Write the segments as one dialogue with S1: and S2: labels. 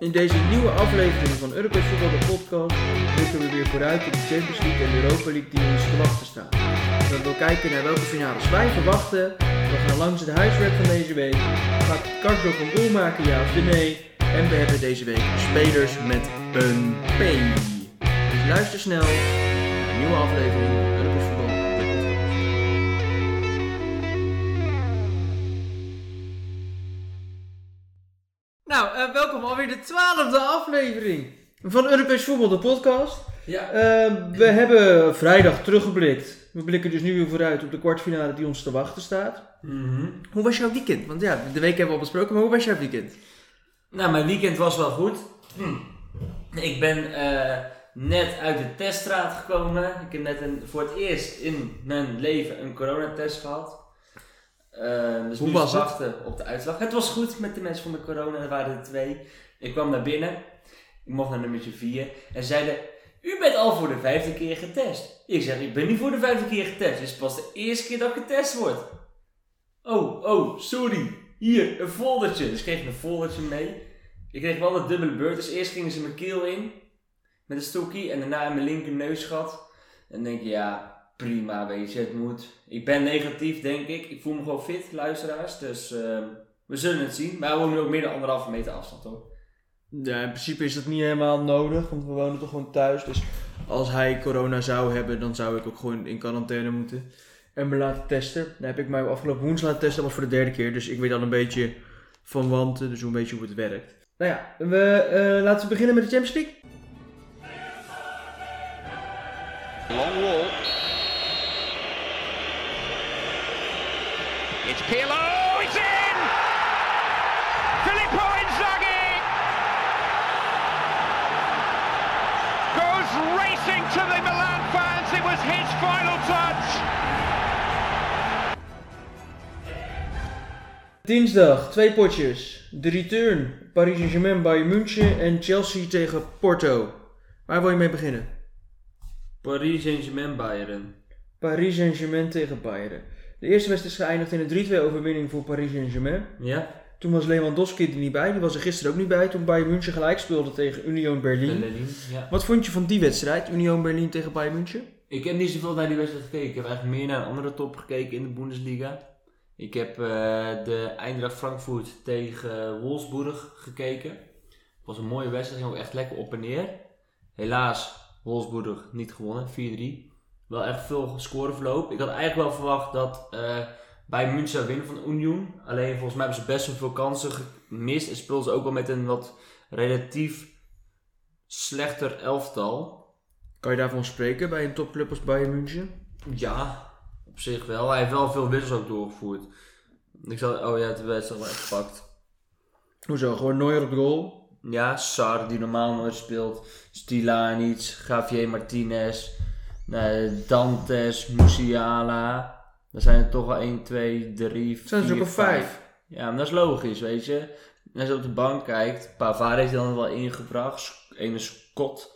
S1: In deze nieuwe aflevering van Europees Voetbal de Podcast blikken we weer vooruit op de Champions League en de Europa League die ons te wachten staan. We wil kijken naar welke finales wij verwachten. We gaan langs het huiswerk van deze week. Gaat Cardo een goal maken, ja of nee? En we hebben deze week spelers met een P. Dus luister snel naar een nieuwe aflevering van Europees Voetbal de Podcast. Nou, eh, welkom alweer de twaalfde aflevering van Europees Voetbal, de podcast.
S2: Ja.
S1: Eh, we hebben vrijdag teruggeblikt. We blikken dus nu weer vooruit op de kwartfinale die ons te wachten staat. Hoe was jouw weekend? Want ja, de week hebben we al besproken, maar hoe was jouw weekend?
S2: Nou, mijn weekend was wel goed.
S1: Hm.
S2: Ik ben eh, net uit de teststraat gekomen. Ik heb net een, voor het eerst in mijn leven een coronatest gehad. Eh, dus
S1: Hoe
S2: nu
S1: was het?
S2: wachten op de uitslag. Het was goed met de mensen van de corona. Er waren er twee. Ik kwam naar binnen. Ik mocht naar nummertje 4. En zeiden, u bent al voor de vijfde keer getest. Ik zeg, ik ben niet voor de vijfde keer getest. Dit is pas de eerste keer dat ik getest word. Oh, oh, sorry. Hier, een foldertje. Dus ik kreeg een foldertje mee. Ik kreeg wel de dubbele beurt. Dus eerst gingen ze mijn keel in. Met een stokje. En daarna in mijn linker neusgat. En dan denk je, ja, prima weet je. Het moet. Ik ben negatief, denk ik. Ik voel me gewoon fit, luisteraars. Dus ehm, we zullen het zien. Maar we wonen ook meer dan anderhalve meter afstand, hoor.
S1: Ja, in principe is dat niet helemaal nodig, want we wonen toch gewoon thuis. Dus als hij corona zou hebben, dan zou ik ook gewoon in quarantaine moeten. En me laten testen. Dan heb ik mij afgelopen woensdag laten testen, dat was voor de derde keer. Dus ik weet al een beetje van wanten, dus hoe een beetje hoe het werkt. Nou ja, we, eh, laten we beginnen met de Champions League.
S3: Long wall. It's Pirlo. It's in. Filippo Inzaghi goes racing to the Milan fans. It was his final touch.
S1: Dinsdag, twee potjes. De return, Paris Saint-Germain, Bayern München en Chelsea tegen Porto. Waar wil je mee beginnen?
S2: Paris Saint-Germain, Bayern.
S1: Paris Saint-Germain tegen Bayern. De eerste wedstrijd is geëindigd in een 3-2 overwinning voor Paris Saint-Germain.
S2: Ja?
S1: Toen was Lewandowski er niet bij, die was er gisteren ook niet bij toen Bayern München gelijk speelde tegen Union Berlin.
S2: Ja.
S1: Wat vond je van die wedstrijd, Union Berlin tegen Bayern München?
S2: Ik heb niet zoveel naar die wedstrijd gekeken. Ik heb eigenlijk meer naar een andere top gekeken in de Bundesliga. Ik heb eh, de Eindracht Frankfurt tegen Wolfsburg gekeken. Het was een mooie wedstrijd, ging ook echt lekker op en neer. Helaas, Wolfsburg niet gewonnen, 4-3. Wel echt veel scoreverloop. Ik had eigenlijk wel verwacht dat eh bij München zou winnen van Union. Alleen volgens mij hebben ze best wel veel kansen gemist. En speelden ze ook wel met een wat relatief slechter elftal.
S1: Kan je daarvan spreken bij een topclub als Bayern München?
S2: Ja, op zich wel. Hij heeft wel veel wissels ook doorgevoerd. Ik zat, oh ja, de wedstrijd wel echt gepakt.
S1: Hoezo, gewoon Neuer op goal?
S2: Ja, Sar, die normaal nooit speelt. Stilanic, Javier Martinez, eh, Dantes, Musiala. Dan zijn er toch wel 1, 2, 3, 4,
S1: Zijn er ook al vijf?
S2: Ja, maar dat is logisch, weet je. En als je op de bank kijkt, Pavard heeft dan wel ingebracht. Sc- Ene Scott,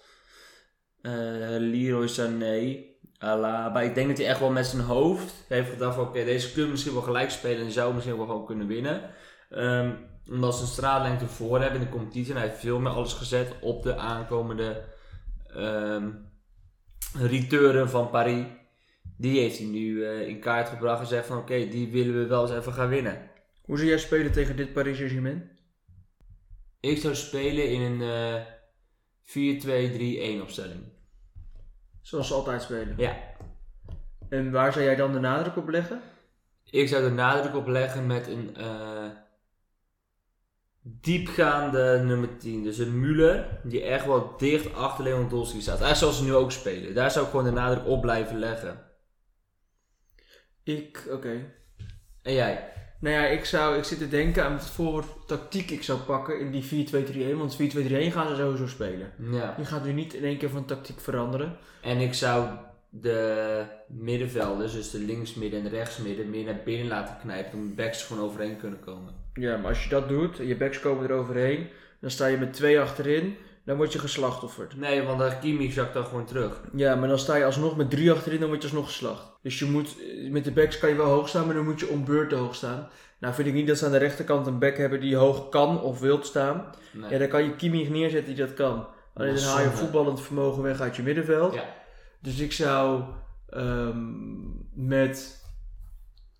S2: eh, Leroy Sané, Alaba. Ik denk dat hij echt wel met zijn hoofd heeft gedacht van... Oké, deze club misschien wel gelijk spelen en zou misschien wel gewoon kunnen winnen. Ehm, omdat ze een straatlengte voor hebben in de competitie. En hij heeft veel meer alles gezet op de aankomende ehm reteuren van Paris. Die heeft hij nu eh, in kaart gebracht en zegt van oké, die willen we wel eens even gaan winnen.
S1: Hoe zou jij spelen tegen dit Paris Saint-Germain?
S2: Ik zou spelen in een eh 4-2-3-1 opstelling.
S1: Zoals ze altijd spelen.
S2: Ja.
S1: En waar zou jij dan de nadruk op leggen?
S2: Ik zou er nadruk op leggen met een eh, diepgaande nummer 10. Dus een Müller die echt wel dicht achter Lewandowski staat. Eigenlijk zoals ze nu ook spelen. Daar zou ik gewoon de nadruk op blijven leggen.
S1: Ik, oké.
S2: En jij?
S1: Nou ja, ik, zou, ik zit te denken aan wat voor tactiek ik zou pakken in die 4-2-3-1. Want 4-2-3-1 gaan ze sowieso spelen.
S2: Ja.
S1: Je gaat nu niet in één keer van tactiek veranderen.
S2: En ik zou de middenvelders, dus de linksmidden en de rechtsmidden, meer naar binnen laten knijpen. Om de backs gewoon overeen kunnen komen.
S1: Ja, maar als je dat doet, je backs komen eroverheen, dan sta je met twee achterin. dan word je geslachtofferd.
S2: Nee, want de Kimi zakt dan gewoon terug.
S1: Ja, maar dan sta je alsnog met drie achterin, dan word je alsnog geslacht. Dus je moet, eh, met de backs kan je wel hoog staan, maar dan moet je om beurten hoog staan. Nou vind ik niet dat ze aan de rechterkant een back hebben die hoog kan of wilt staan.
S2: Nee.
S1: Ja, dan kan je Kimmich neerzetten die dat kan. Alleen dan haal je
S2: zonde.
S1: voetballend vermogen weg uit je middenveld.
S2: Ja.
S1: Dus ik zou ehm, met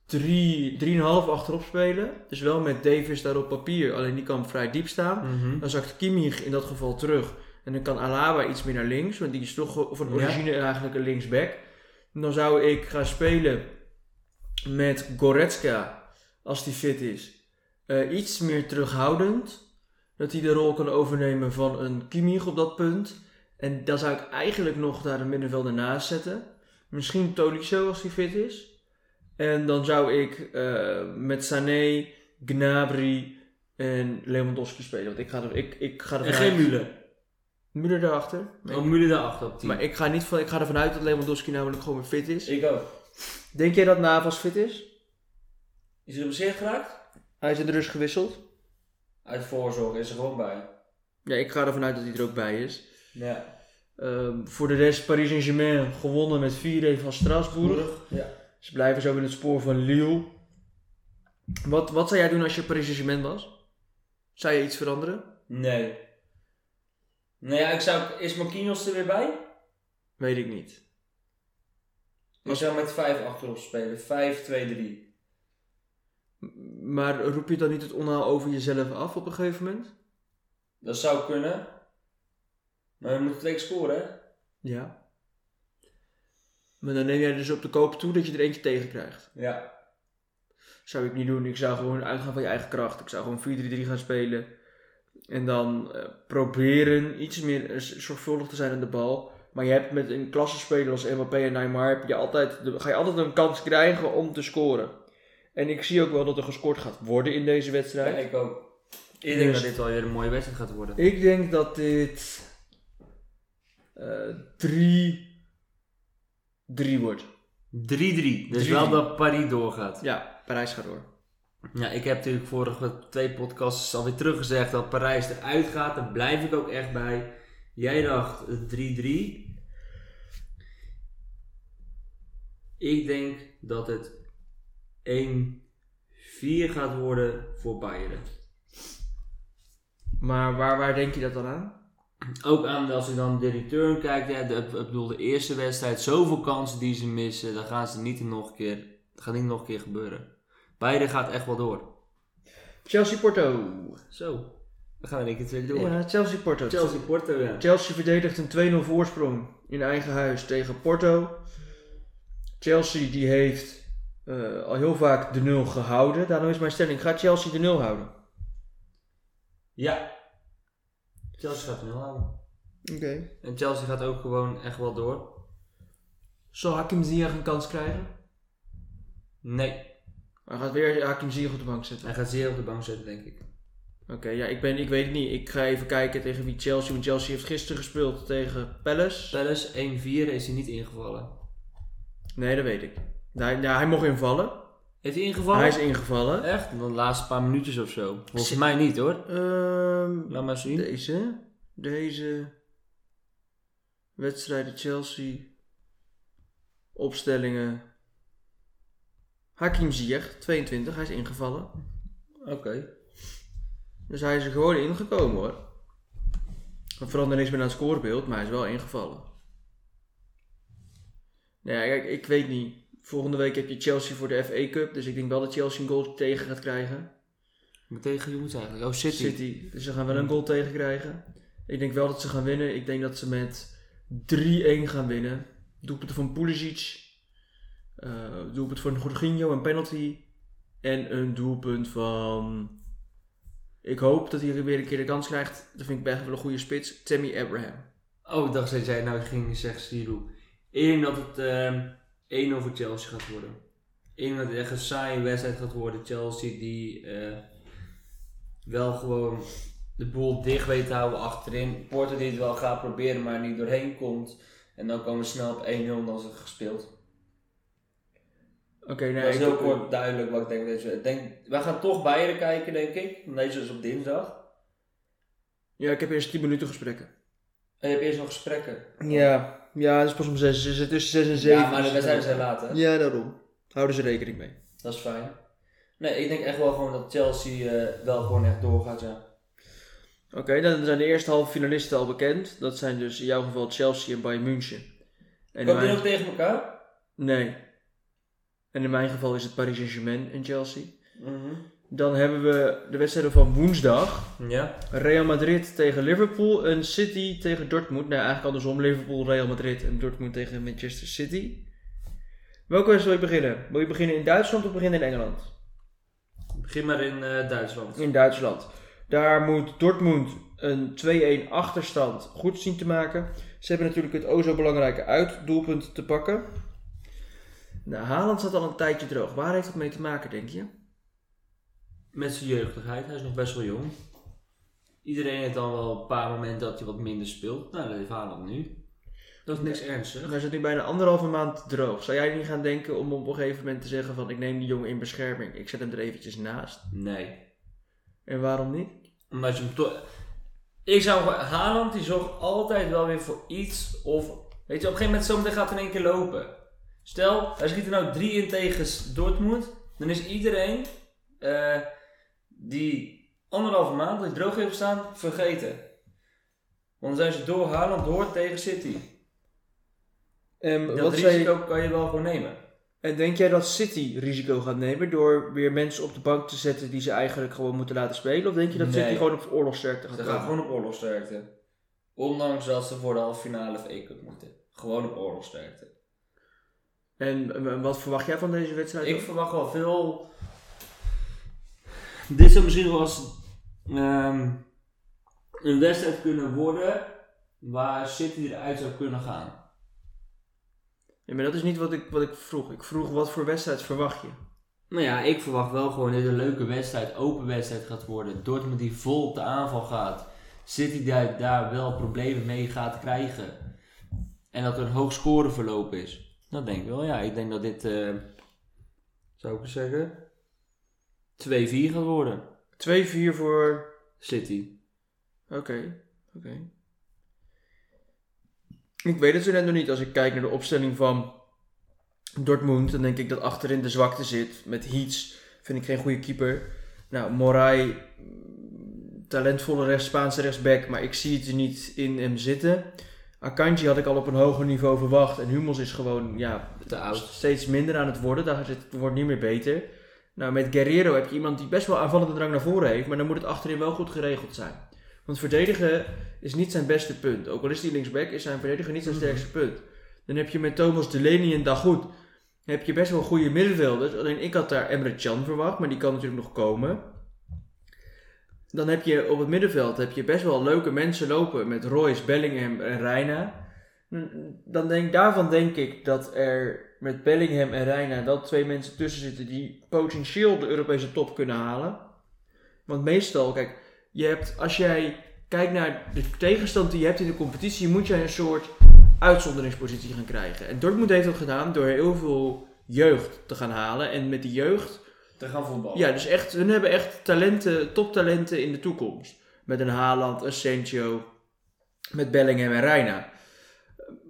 S1: 3, 3,5 achterop spelen. Dus wel met Davis daar op papier, alleen die kan vrij diep staan.
S2: Mhm.
S1: Dan zakt Kimmich in dat geval terug. En dan kan Alaba iets meer naar links, want die is toch van
S2: Ja.
S1: origine eigenlijk een linksback. En Dan zou ik gaan spelen met Goretzka, als die fit is. Eh, iets meer terughoudend. Dat hij de rol kan overnemen van een Kimmich op dat punt. En dan zou ik eigenlijk nog daar een middenvelder naast zetten. Misschien Tolisso als hij fit is. En dan zou ik eh, met Sané, Gnabry en Lewandowski spelen. Want ik ga er, ik, ik ga er
S2: En geen Müller.
S1: Müller daarachter.
S2: Oh, Müller daarachter op 10.
S1: Maar ik ga, niet van, ik ga ervan uit dat Lewandowski namelijk gewoon weer fit is.
S2: Ik ook.
S1: Denk jij dat Navas fit is?
S2: Is er geblesseerd geraakt?
S1: Hij is in de rust gewisseld.
S2: Uit voorzorg is er gewoon bij.
S1: Ja, ik ga ervan uit dat hij er ook bij is.
S2: Ja.
S1: Ehm, voor de rest Paris Saint-Germain gewonnen met 4-1 van Straatsburg.
S2: Ja.
S1: Ze blijven zo in het spoor van Lille. Wat, wat zou jij doen als je Paris Saint-Germain was? Zou je iets veranderen?
S2: Nee. Nou ja, ik zou... Is Marquinhos er weer bij?
S1: Weet ik niet.
S2: Ik zou met 5 achterop spelen. 5, 2, 3.
S1: M- Maar roep je dan niet het onhaal over jezelf af op een gegeven moment?
S2: Dat zou kunnen. Maar we moeten twee keer scoren, hè?
S1: Ja. Maar dan neem jij dus op de koop toe dat je er eentje tegen krijgt.
S2: Ja.
S1: Zou ik niet doen. Ik zou gewoon uitgaan van je eigen kracht. Ik zou gewoon 4-3-3 gaan spelen. En dan eh, proberen iets meer eh, z- zorgvuldig te zijn aan de bal. Maar je hebt met een klassenspeler als Mbappé en Neymar... Heb je altijd, de- ga je altijd een kans krijgen om te scoren. En ik zie ook wel dat er gescoord gaat worden in deze
S2: ja
S1: wedstrijd.
S2: ik ook. Dus- Ik
S1: denk dat
S2: dit wel weer een mooie wedstrijd gaat worden.
S1: Ik denk dat dit... eh, 3-3 wordt.
S2: 3-3. Dus
S1: 3-3.
S2: wel dat Paris doorgaat.
S1: Ja, Parijs gaat door.
S2: Ja, ik heb natuurlijk vorige twee podcasts alweer teruggezegd dat Parijs eruit gaat. Daar blijf ik ook echt bij. Jij dacht 3-3. Ik denk dat het 1-4 gaat worden voor Bayern.
S1: Maar waar, waar denk je dat dan aan?
S2: Ook aan als je dan de return kijkt, ja, de, ik bedoel de eerste wedstrijd, zoveel kansen die ze missen, dan gaan ze niet nog een keer, dat gaat niet nog een keer gebeuren. Bayern gaat echt wel door.
S1: Chelsea-Porto.
S2: Zo, we gaan in één keer twee keer door.
S1: Ja, Chelsea-Porto. Chelsea.
S2: Chelsea Porto, ja.
S1: verdedigt een 2-0 voorsprong in eigen huis tegen Porto. Chelsea die heeft eh, al heel vaak de 0 gehouden. Daarom is mijn stelling, gaat Chelsea de 0 houden?
S2: Ja. Chelsea gaat nul houden.
S1: Oké.
S2: En Chelsea gaat ook gewoon echt wel door.
S1: Zal Hakim Ziyech een kans krijgen?
S2: Nee,
S1: Hij gaat weer Hakim Ziyech op de bank zetten.
S2: hij gaat zeer op de bank zitten, denk ik.
S1: Oké, ja, ik, ben, ik weet het niet. Ik ga even kijken tegen wie Chelsea... Want Chelsea heeft gisteren gespeeld tegen Palace.
S2: Palace 1-4 is hij niet ingevallen.
S1: Nee, dat weet ik. Hij, ja, hij mocht invallen.
S2: Heeft hij ingevallen?
S1: Hij is ingevallen.
S2: Echt? Dan de laatste paar minuutjes of zo. Volgens mij niet hoor.
S1: Ehm,
S2: Laat maar zien.
S1: deze. Deze. Wedstrijden Chelsea. Opstellingen. Hakim Ziyech, 22. Hij is ingevallen.
S2: Oké.
S1: Dus hij is er gewoon ingekomen hoor. Er verandert niks meer aan het scorebeeld, maar hij is wel ingevallen. Nou ja, kijk, ik weet niet. Volgende week heb je Chelsea voor de FA Cup. Dus ik denk wel dat Chelsea een goal tegen gaat krijgen.
S2: Moet tegen jongens eigenlijk. Oh, City.
S1: City. Dus ze gaan wel een goal tegen krijgen. Ik denk wel dat ze gaan winnen. Ik denk dat ze met 3-1 gaan winnen. Doelpunten van Pulisic. eh doelpunt van Jorginho, een penalty. En een doelpunt van... Ik hoop dat hij weer een keer de kans krijgt. Dat vind ik best wel een goede spits. Tammy Abraham.
S2: Oh, ik dacht dat jij nou ging zeggen Giroud. Ik denk dat het ehm 1-0 voor Chelsea gaat worden. Ik denk dat het echt een saaie wedstrijd gaat worden. Chelsea die eh, wel gewoon de boel dicht weet te houden achterin. Porto die het wel gaat proberen, maar niet doorheen komt. En dan komen ze snel op 1-0 en dan is het gespeeld.
S1: Oké, nee.
S2: dat is
S1: ik-
S2: heel kort duidelijk wat ik denk. Dat we, denk wij gaan toch Bayern kijken, denk ik. Want Deze is op dinsdag.
S1: Ja, ik heb eerst 10 minuten gesprekken.
S2: En je hebt eerst nog gesprekken.
S1: Ja, ja dat is pas om 6. Is het tussen 6 en 7.
S2: Ja, maar de wedstrijden zijn later. hè?
S1: Ja, daarom. Houden ze rekening mee.
S2: Dat is fijn. Nee, ik denk echt wel gewoon dat Chelsea eh, wel gewoon echt doorgaat, ja.
S1: Oké, dan zijn de eerste halve finalisten al bekend. Dat zijn dus in jouw geval Chelsea en Bayern München. En in
S2: Komen die
S1: mijn-
S2: nog tegen elkaar?
S1: Nee. En in mijn geval is het Paris Saint-Germain en Chelsea.
S2: Mhm.
S1: Dan hebben we de wedstrijden van woensdag.
S2: Ja.
S1: Real Madrid tegen Liverpool en City tegen Dortmund. Nou, eigenlijk andersom. Liverpool, Real Madrid en Dortmund tegen Manchester City. Welke wedstrijd wil je beginnen? Wil je beginnen in Duitsland of beginnen in Engeland?
S2: Begin maar in eh, Duitsland.
S1: In Duitsland. Daar moet Dortmund een 2-1 achterstand goed zien te maken. Ze hebben natuurlijk het o zo belangrijke uitdoelpunt te pakken. Nou, Haaland zat al een tijdje droog. Waar heeft dat mee te maken, denk je?
S2: Met zijn jeugdigheid, hij is nog best wel jong. Iedereen heeft dan wel een paar momenten dat hij wat minder speelt. Nou, dat heeft Haaland nu. Dat is niks ernstigs.
S1: Hij zit nu bijna anderhalve maand droog. Zou jij niet gaan denken om op een gegeven moment te zeggen van... ik neem die jongen in bescherming, ik zet hem er eventjes naast.
S2: Nee.
S1: En waarom niet?
S2: Omdat je hem toch... Ik zou... gewoon- Haaland die zorgt altijd wel weer voor iets of... Weet je, op een gegeven moment zometeen gaat hij in één keer lopen. Stel, hij schiet er nou drie in tegen S- Dortmund. Dan is iedereen eh, die anderhalve maand dat hij droog heeft staan, vergeten. Want dan zijn ze door Haaland door tegen City.
S1: Ehm,
S2: Dat
S1: wat zei-
S2: risico kan je wel gewoon nemen.
S1: En denk jij dat City risico gaat nemen door weer mensen op de bank te zetten die ze eigenlijk gewoon moeten laten spelen? Of denk je dat
S2: Nee.
S1: City gewoon op oorlogsterkte gaat
S2: Ze gaan
S1: gaan?
S2: gewoon op oorlogsterkte. Ondanks dat ze voor de halve finale of E-Cup moeten. Gewoon op oorlogsterkte.
S1: En, en wat verwacht jij van deze wedstrijd?
S2: Ik
S1: dan?
S2: verwacht wel veel... Dit zou misschien wel eens ehm, een wedstrijd kunnen worden waar City eruit zou kunnen gaan.
S1: Ja, maar dat is niet wat ik, wat ik vroeg. Ik vroeg wat voor wedstrijd verwacht je?
S2: Nou ja, ik verwacht wel gewoon dat het een leuke wedstrijd, open wedstrijd gaat worden. Dortmund die vol op de aanval gaat. City die daar, daar wel problemen mee gaat krijgen. En dat er een hoog scoreverloop is. Dat denk ik wel, ja. Ik denk dat dit, eh, zou ik eens zeggen, 2-4 gaat worden.
S1: 2-4 voor...
S2: City.
S1: Oké, oké. Ik weet het zo net nog niet. Als ik kijk naar de opstelling van Dortmund, dan denk ik dat achterin de zwakte zit. Met Heats vind ik geen goede keeper. Nou, Morai, mm, talentvolle rechts, Spaanse rechtsback, maar ik zie het er niet in hem zitten. Akanji had ik al op een hoger niveau verwacht. En Hummels is gewoon, ja,
S2: Te oud.
S1: steeds minder aan het worden. Daar zit, het wordt niet meer beter. Nou, met Guerrero heb je iemand die best wel aanvallende drang naar voren heeft, maar dan moet het achterin wel goed geregeld zijn. Want verdedigen is niet zijn beste punt. Ook al is hij linksback, is zijn verdedigen niet zijn sterkste punt. Dan heb je met Thomas Delaney en Dagoed heb je best wel goede middenvelders. Alleen ik had daar Emre Can verwacht, maar die kan natuurlijk nog komen. Dan heb je op het middenveld heb je best wel leuke mensen lopen met Royce, Bellingham en Reina. Hm, Dan denk, daarvan denk ik dat er met Bellingham en Reina wel twee mensen tussen zitten die potentieel de Europese top kunnen halen. Want meestal, kijk, je hebt, als jij kijkt naar de tegenstand die je hebt in de competitie, moet jij een soort uitzonderingspositie gaan krijgen. En Dortmund heeft dat gedaan door heel veel jeugd te gaan halen. En met die jeugd
S2: Te gaan voetballen.
S1: ja, dus echt, hun hebben echt talenten, toptalenten in de toekomst. Met een Haaland, een Sancho, met Bellingham en Reina.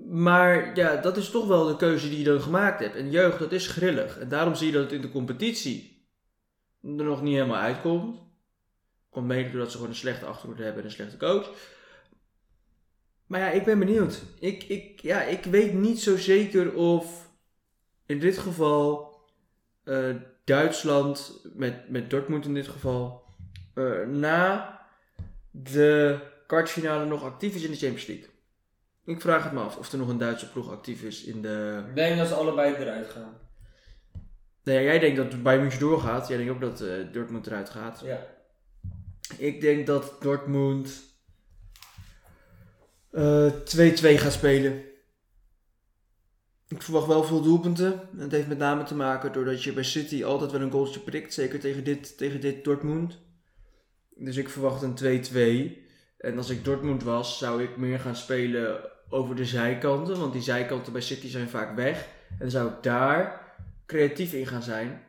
S1: Maar ja, dat is toch wel de keuze die je dan gemaakt hebt. En jeugd, dat is grillig. En daarom zie je dat het in de competitie er nog niet helemaal uitkomt. Komt mede doordat ze gewoon een slechte achterhoede hebben en een slechte coach. Maar ja, ik ben benieuwd. Ik, ik, ja, ik weet niet zo zeker of in dit geval eh, Duitsland, met, met Dortmund in dit geval, eh, na de kwartfinale nog actief is in de Champions League. Ik vraag het me af of er nog een Duitse ploeg actief is in de...
S2: Ik denk dat ze allebei eruit gaan.
S1: Nou ja, jij denkt dat Bayern München doorgaat. Jij denkt ook dat eh, Dortmund eruit gaat.
S2: Ja.
S1: Ik denk dat Dortmund eh, 2-2 gaat spelen. Ik verwacht wel veel doelpunten. En Het heeft met name te maken doordat je bij City altijd wel een goaltje prikt. Zeker tegen dit, tegen dit Dortmund. Dus ik verwacht een 2-2. En als ik Dortmund was, zou ik meer gaan spelen over de zijkanten. Want die zijkanten bij City zijn vaak weg. En dan zou ik daar creatief in gaan zijn.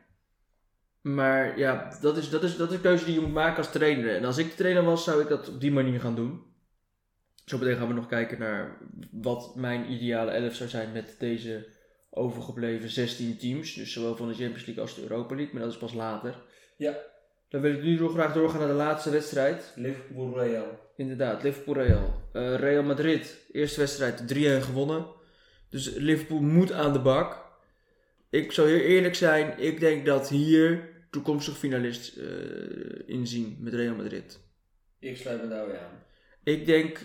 S1: Maar ja, dat is, dat, is, dat is een keuze die je moet maken als trainer. En als ik de trainer was, zou ik dat op die manier gaan doen. Zo meteen gaan we nog kijken naar wat mijn ideale elf zou zijn met deze overgebleven 16 teams. Dus zowel van de Champions League als de Europa League, maar dat is pas later.
S2: Ja.
S1: Dan wil ik nu nog graag doorgaan naar de laatste wedstrijd.
S2: Liverpool Real.
S1: Inderdaad, Liverpool-Real. Eh, Real Madrid, eerste wedstrijd 3-1 gewonnen. Dus Liverpool moet aan de bak. Ik zou heel eerlijk zijn, ik denk dat hier toekomstig finalist eh, inzien met Real Madrid.
S2: Ik sluit me daarbij aan.
S1: Ik denk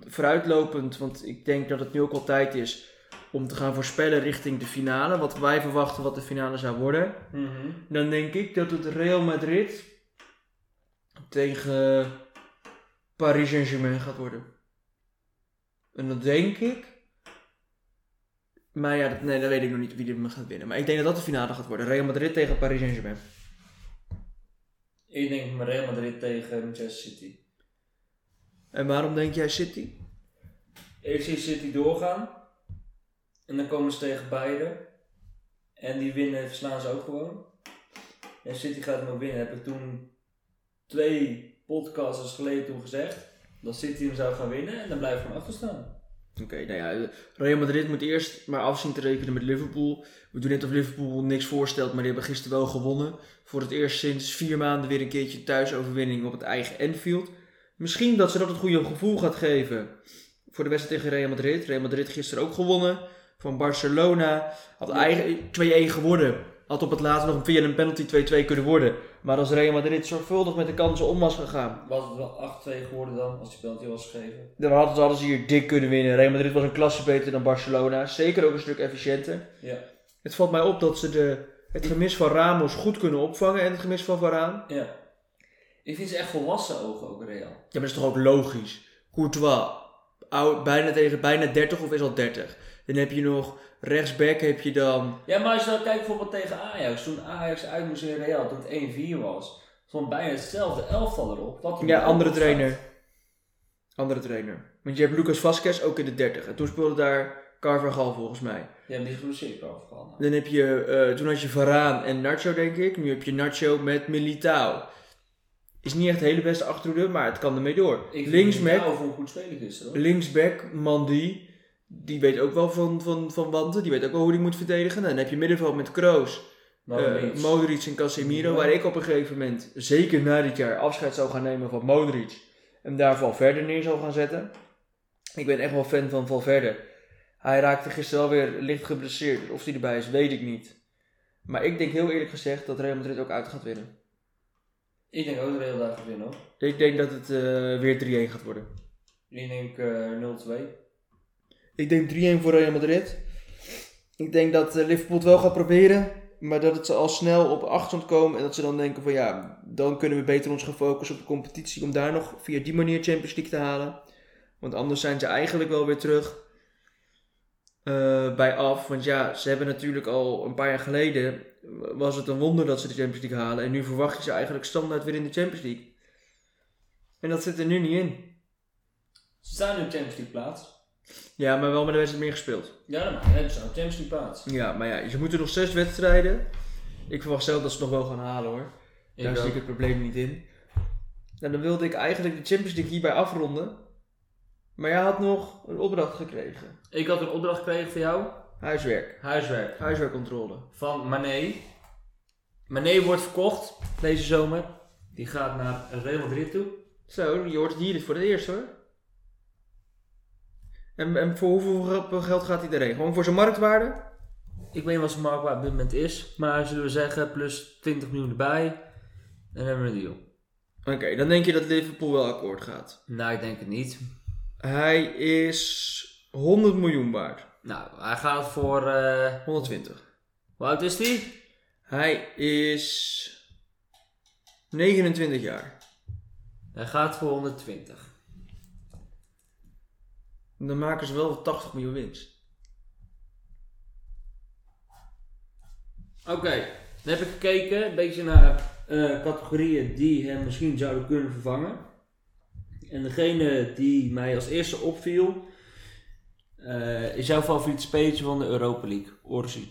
S1: vooruitlopend, want ik denk dat het nu ook al tijd is om te gaan voorspellen richting de finale. Wat wij verwachten wat de finale zou worden. Dan denk ik dat het Real Madrid tegen Paris Saint-Germain gaat worden. En dan denk ik. Maar ja, dat, nee, dan weet ik nog niet wie dit me gaat winnen. Maar ik denk dat dat de finale gaat worden. Real Madrid tegen Paris Saint-Germain.
S2: Ik denk maar Real Madrid tegen Manchester City.
S1: En waarom denk jij City?
S2: Ik zie City doorgaan. En dan komen ze tegen Bayern. En die winnen, verslaan ze ook gewoon. En City gaat hem ook winnen. Heb ik toen twee podcasts geleden toen gezegd. Dat City hem zou gaan winnen. En dan blijft hij hem achterstaan.
S1: Oké, nou ja, Real Madrid moet eerst maar afzien te rekenen met Liverpool. We doen net of Liverpool niks voorstelt, maar die hebben gisteren wel gewonnen. Voor het eerst sinds vier maanden weer een keertje thuisoverwinning op het eigen Anfield. Misschien dat ze dat het goede gevoel gaat geven voor de wedstrijd tegen Real Madrid. Real Madrid gisteren ook gewonnen van Barcelona. Had eigen 2-1 geworden. Had op het laatst nog via een penalty 2-2 kunnen worden. Maar als Real Madrid zorgvuldig met de kansen om was gegaan,
S2: Was het wel 8-2 geworden dan, als die penalty was gegeven?
S1: dan hadden ze, hadden ze hier dik kunnen winnen. Real Madrid was een klasse beter dan Barcelona. Zeker ook een stuk efficiënter.
S2: Ja.
S1: Het valt mij op dat ze de, het gemis van Ramos goed kunnen opvangen en het gemis van Varaan.
S2: ja. Ik vind ze echt volwassen ogen ook, Real.
S1: Ja, maar dat is toch ook logisch? Courtois, oud, bijna tegen bijna 30 of is al 30. Dan heb je nog rechtsback, heb je dan...
S2: Ja, maar als je dan kijkt bijvoorbeeld tegen Ajax, toen Ajax uit moest in Real, toen het 1-4 was, stond bijna hetzelfde elftal erop. Wat er
S1: Ja,
S2: nu
S1: andere
S2: ook staat.
S1: trainer. Andere trainer. Want je hebt Lucas Vasquez ook in de 30. En toen speelde daar Carvajal volgens mij.
S2: Ja, maar die is geblesseerd overgegaan.
S1: Dan heb je, eh, toen had je Varaan en Nacho, denk ik. Nu heb je Nacho met Militao. Is niet echt de hele beste achterhoede, maar het kan ermee door.
S2: Ik
S1: Linksback,
S2: Over een goed speler gisteren. hoor.
S1: linksback, Mandy. Die weet ook wel van, van, van wanten. Die weet ook wel hoe die moet verdedigen. Dan heb je middenveld met Kroos,
S2: Maar
S1: eh,
S2: niets.
S1: Modric en Casemiro.
S2: Ja.
S1: Waar ik op een gegeven moment, zeker na dit jaar, afscheid zou gaan nemen van Modric. En daar Valverde neer zou gaan zetten. Ik ben echt wel fan van Valverde. Hij raakte gisteren wel weer licht geblesseerd. Dus Of hij erbij is, weet ik niet. Maar ik denk heel eerlijk gezegd dat Real Madrid ook uit gaat winnen.
S2: Ik denk ook dat Real daar gaat winnen hoor.
S1: Ik denk dat het eh, weer 3-1 gaat worden.
S2: Ik denk eh 0-2.
S1: Ik denk 3-1 voor Real Madrid. Ik denk dat eh, Liverpool het wel gaat proberen. Maar dat het ze al snel op achterstand komen. En dat ze dan denken van ja, dan kunnen we beter ons gaan focussen op de competitie. Om daar nog via die manier Champions League te halen. Want anders zijn ze eigenlijk wel weer terug eh, bij af. Want ja, ze hebben natuurlijk al een paar jaar geleden. Was het een wonder dat ze de Champions League halen. En nu verwacht je ze eigenlijk standaard weer in de Champions League. En dat zit er nu niet in.
S2: Ze staan nu op Champions League plaats.
S1: Ja, maar wel met de wedstrijd meer gespeeld.
S2: Ja, dan maar. Dan hebben ze op Champions League plaats.
S1: Ja, maar ja, ze moeten nog zes wedstrijden. Ik verwacht zelf dat ze het nog wel gaan halen hoor. Daar
S2: Ik
S1: zie ik
S2: ook.
S1: het probleem niet in. Nou, dan wilde ik eigenlijk de Champions League hierbij afronden. Maar jij had nog een opdracht gekregen.
S2: Ik had een opdracht gekregen voor jou.
S1: Huiswerk.
S2: Huiswerk.
S1: Huiswerkcontrole.
S2: van Mané. Mané wordt verkocht deze zomer. Die gaat naar Real Madrid toe.
S1: Zo, je hoort het hier voor het eerst hoor. En, en voor hoeveel geld gaat hij erheen? Gewoon voor zijn marktwaarde?
S2: Ik weet niet wat zijn marktwaarde op dit moment is. Maar zullen we zeggen, plus 20 miljoen erbij. Dan hebben we een deal.
S1: Oké, dan denk je dat Liverpool wel akkoord gaat.
S2: Nou, ik denk het niet.
S1: Hij is 100 miljoen waard.
S2: Nou, hij gaat voor... eh
S1: 120.
S2: hoe oud is die?
S1: Hij is 29 jaar.
S2: Hij gaat voor 120.
S1: Dan maken ze wel 80 miljoen winst.
S2: Oké, dan heb ik gekeken een beetje naar eh, categorieën die hem misschien zouden kunnen vervangen. En degene die mij als eerste opviel, eh, is jouw favoriete speler van de Europa League, Orsic.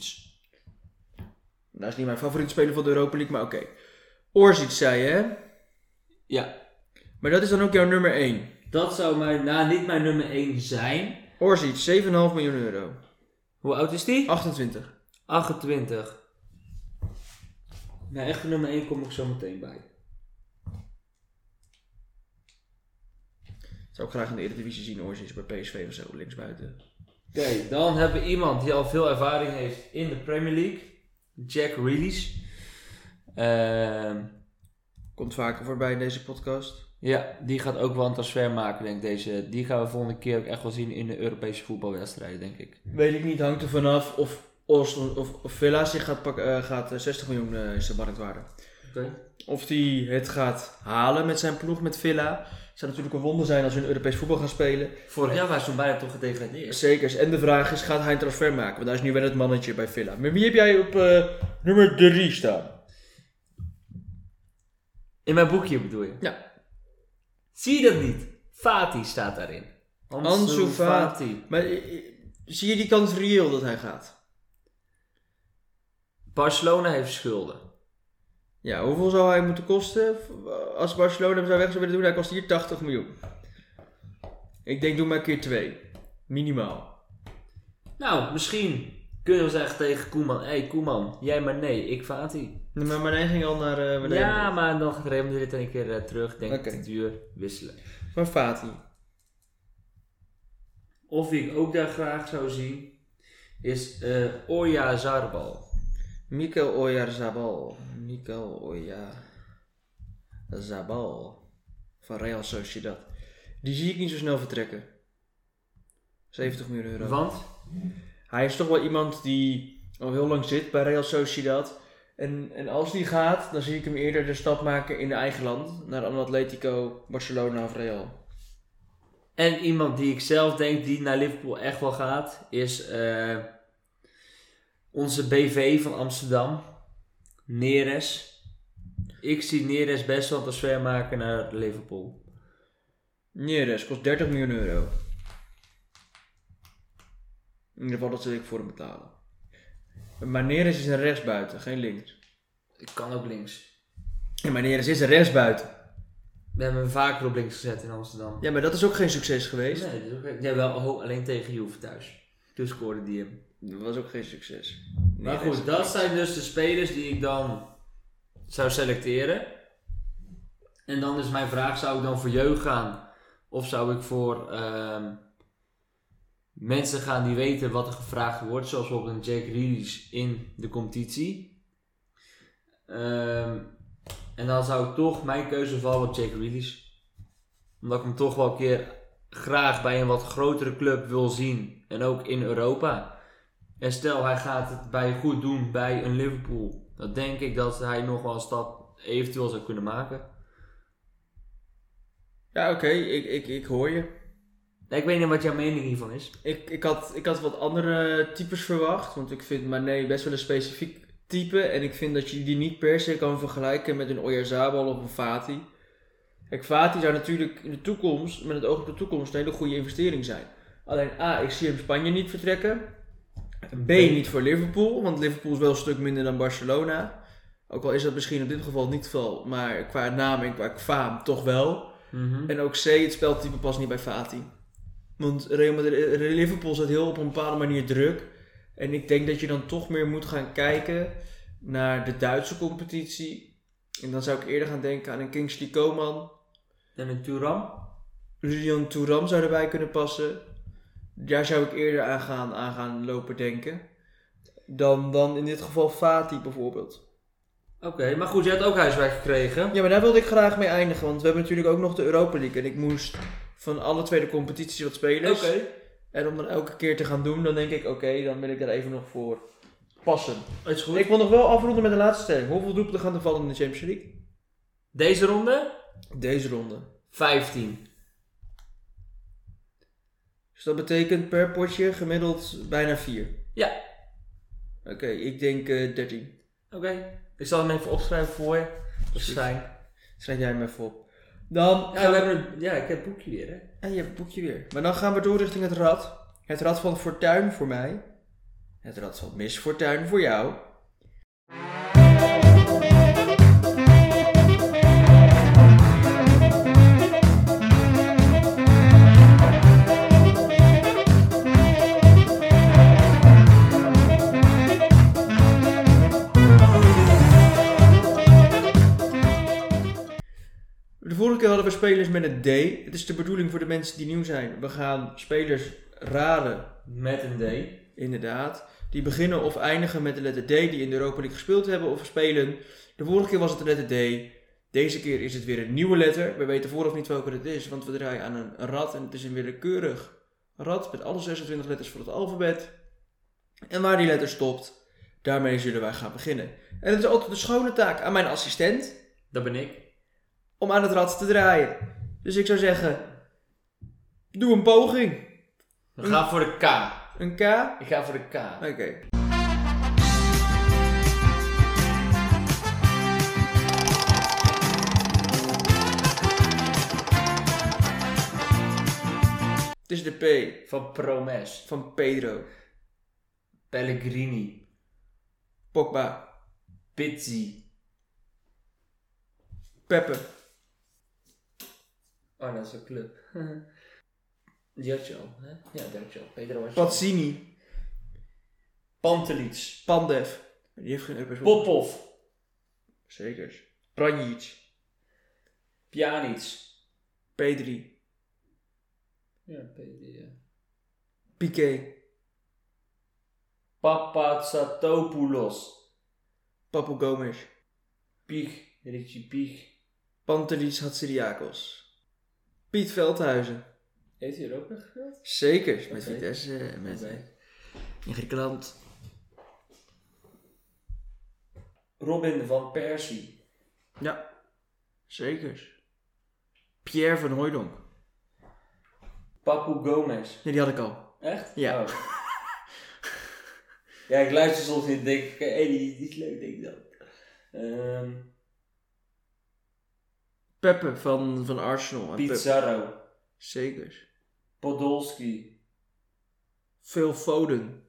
S1: Dat Nou, is niet mijn favoriete speler van de Europa League, maar oké. Orsic zei je, hè?
S2: Ja.
S1: Maar dat is dan ook jouw nummer 1.
S2: Dat zou mijn, nou, niet mijn nummer 1 zijn.
S1: Orsic, 7,5 miljoen euro.
S2: Hoe oud is
S1: Oh.
S2: die?
S1: 28.
S2: 28. Mijn echte nummer 1 kom ik zo meteen bij.
S1: Zou ik graag in de Eredivisie zien, Orsic bij PSV of zo, linksbuiten.
S2: Oké, dan hebben we iemand die al veel ervaring heeft in de Premier League. Jack Grealish. Ehm,
S1: Komt vaker voorbij in deze podcast.
S2: ja, die gaat ook wel een transfer maken, denk ik. Deze. Die gaan we volgende keer ook echt wel zien in de Europese voetbalwedstrijden, denk ik.
S1: Weet ik niet, hangt er vanaf of, Oslo- of, of Villa zich gaat, pak, eh, gaat eh, 60 miljoen eh, is de marktwaarde.
S2: Oké.
S1: Of hij het gaat halen met zijn ploeg, met Villa. Zou natuurlijk een wonder zijn als ze in Europees voetbal gaan spelen.
S2: Vorig jaar waren ze toen bijna toch gedegradeerd.
S1: Zeker. En de vraag is, gaat hij een transfer maken? Want hij is nu wel het mannetje bij Villa. Maar wie heb jij op eh, nummer 3 staan?
S2: In mijn boekje bedoel je?
S1: Ja.
S2: Zie je dat niet? Fati staat daarin.
S1: Ansu Fati. Maar eh, eh, zie je die kans reëel dat hij gaat?
S2: Barcelona heeft schulden.
S1: Ja, hoeveel zou hij moeten kosten als Barcelona hem zou weg zou willen doen? Hij kost hier 80 miljoen. Ik denk, doe maar keer 2. Minimaal.
S2: Nou, misschien kunnen we zeggen tegen Koeman. Hé hey, Koeman, jij maar nee, ik Fati.
S1: Nee, Maar mijn ging al naar eh beneden.
S2: Ja, maar dan gaat Real Madrid een keer eh, terug. Denk ik
S1: Oké.
S2: te duur wisselen.
S1: Maar Fati.
S2: Of wie ik ook daar graag zou zien, is eh Oya Zarbal.
S1: Mikel Oyarzabal. Mikel Oyarzabal. Van Real Sociedad. Die zie ik niet zo snel vertrekken. 70 miljoen euro.
S2: Want,
S1: Hij is toch wel iemand die al heel lang zit bij Real Sociedad. En, en als die gaat, dan zie ik hem eerder de stap maken in eigen land. Naar een Atletico, Barcelona of Real.
S2: en iemand die ik zelf denk die naar Liverpool echt wel gaat, is eh, onze BV van Amsterdam, Neres. Ik zie Neres best wel een transfer maken naar Liverpool.
S1: Neres kost 30 miljoen euro. In ieder geval dat zal ik voor hem betalen. Maar Neres is dus een rechtsbuiten, geen links.
S2: Ik kan ook links.
S1: Ja, maar Neres is een rechtsbuiten.
S2: We hebben hem vaker op links gezet in Amsterdam.
S1: Ja, maar dat is ook geen succes geweest.
S2: Nee, dat is ook... ja, wel oh, alleen tegen Juve thuis. Toen scoorde die hem.
S1: Dat was ook geen succes.
S2: Maar
S1: Neres-
S2: goed, dat zijn dus de spelers die ik dan zou selecteren. En dan is mijn vraag, zou ik dan voor jeugd gaan? Of zou ik voor ehm, mensen gaan die weten wat er gevraagd wordt? Zoals bijvoorbeeld een Jack Reedies in de competitie. Ehm, en dan zou ik toch mijn keuze vallen op Jack Reedies. Omdat ik hem toch wel een keer graag bij een wat grotere club wil zien. En ook in Europa. En stel hij gaat het bij goed doen bij een Liverpool. Dan denk ik dat hij nog wel een stap eventueel zou kunnen maken.
S1: Ja, oké, ik, ik, ik hoor je.
S2: Nee, ik weet niet wat jouw mening hiervan is.
S1: Ik, ik, had, ik had wat andere types verwacht. Want ik vind Mané best wel een specifiek type. En ik vind dat je die niet per se kan vergelijken met een Oyarzabal of een Fati. Kijk, Fati zou natuurlijk in de toekomst, met het oog op de toekomst, een hele goede investering zijn. Alleen A, ik zie hem Spanje niet vertrekken. B, niet voor Liverpool. Want Liverpool is wel een stuk minder dan Barcelona. Ook al is dat misschien in dit geval niet veel. Maar qua naam en qua kwaam toch wel.
S2: Mhm.
S1: En ook C, het speltype past niet bij Fati. Want Real Madrid- eh, Liverpool zit heel op een bepaalde manier druk. En ik denk dat je dan toch meer moet gaan kijken naar de Duitse competitie. En dan zou ik eerder gaan denken aan een Kingsley Coman.
S2: En een Turam?
S1: Julian Touram zou erbij kunnen passen. Daar zou ik eerder aan gaan, aan gaan lopen denken. Dan, dan in dit geval Fati bijvoorbeeld.
S2: Oké, maar goed, je had ook huiswerk gekregen.
S1: Ja, maar daar wilde ik graag mee eindigen. Want we hebben natuurlijk ook nog de Europa League. En ik moest van alle tweede competities wat spelers.
S2: dus
S1: En om dan elke keer te gaan doen, dan denk ik, oké, dan wil ik daar even nog voor passen.
S2: is goed.
S1: Ik wil nog wel afronden met de laatste stelling. Hoeveel doelpunten gaan er vallen in de Champions League?
S2: Deze ronde?
S1: Deze ronde.
S2: 15.
S1: Dus dat betekent per potje gemiddeld bijna 4.
S2: Ja,
S1: Oké, ik denk eh 13.
S2: oké. Ik zal hem even opschrijven voor je. Dat is fijn.
S1: Schrijf jij hem even op. Dan...
S2: Ja, we hebben een- ja, ik heb het boekje weer, hè.
S1: En je hebt het boekje weer. Maar dan gaan we door richting het rad. Het rad van fortuin voor mij. Het rad van misfortuin voor jou. spelers met een D. Het is de bedoeling voor de mensen die nieuw zijn. We gaan spelers raden,
S2: Met een D.
S1: inderdaad. Die beginnen of eindigen met de letter D die in de Europa League gespeeld hebben of spelen. De vorige keer was het de letter D. Deze keer is het weer een nieuwe letter. We weten vooraf niet welke het is, want we draaien aan een rad en het is een willekeurig rad met alle 26 letters voor het alfabet. En waar die letter stopt, daarmee zullen wij gaan beginnen. En het is altijd de schone taak aan mijn assistent
S2: Dat ben ik.
S1: om aan het rad te draaien. Dus ik zou zeggen, doe een poging.
S2: We gaan voor de K.
S1: Een K? Oké.
S2: Ik ga voor de K.
S1: Het is de P
S2: Van Promes.
S1: van Pedro.
S2: Pellegrini.
S1: Pogba.
S2: Pizzi.
S1: Peppe.
S2: Oh, dat is een club. Die had je al, hè? Ja, die had je al. Pedro was je al.
S1: Pazzini.
S2: Pantelits.
S1: Pandev. Die heeft geen Europees woord.
S2: Popov.
S1: Zekers. Pranjic.
S2: Pjanic.
S1: Pedri.
S2: Ja, Pedro, ja.
S1: Piqué.
S2: Papatsatopoulos.
S1: Papu Gomes.
S2: Pieg. Richie Pieg.
S1: Pantelis Hatsiriakos. Piet Veldhuizen.
S2: Heeft hij er ook nog gespeeld?
S1: Zekers. Met
S2: Oké.
S1: Vitesse en met
S2: Oké.
S1: in Griekenland.
S2: Robin van Persie.
S1: Ja. Zekers. Pierre van Hooijdonk.
S2: Papu Gomez.
S1: Nee, die had ik al.
S2: Echt?
S1: Ja.
S2: Oh. ja, ik luister soms niet en denk ik, hé, die, die is leuk, denk ik dan. Ehm,
S1: Peppe van, van Arsenal. En Pep.
S2: Pizarro.
S1: Zekers.
S2: Podolski.
S1: Phil Foden.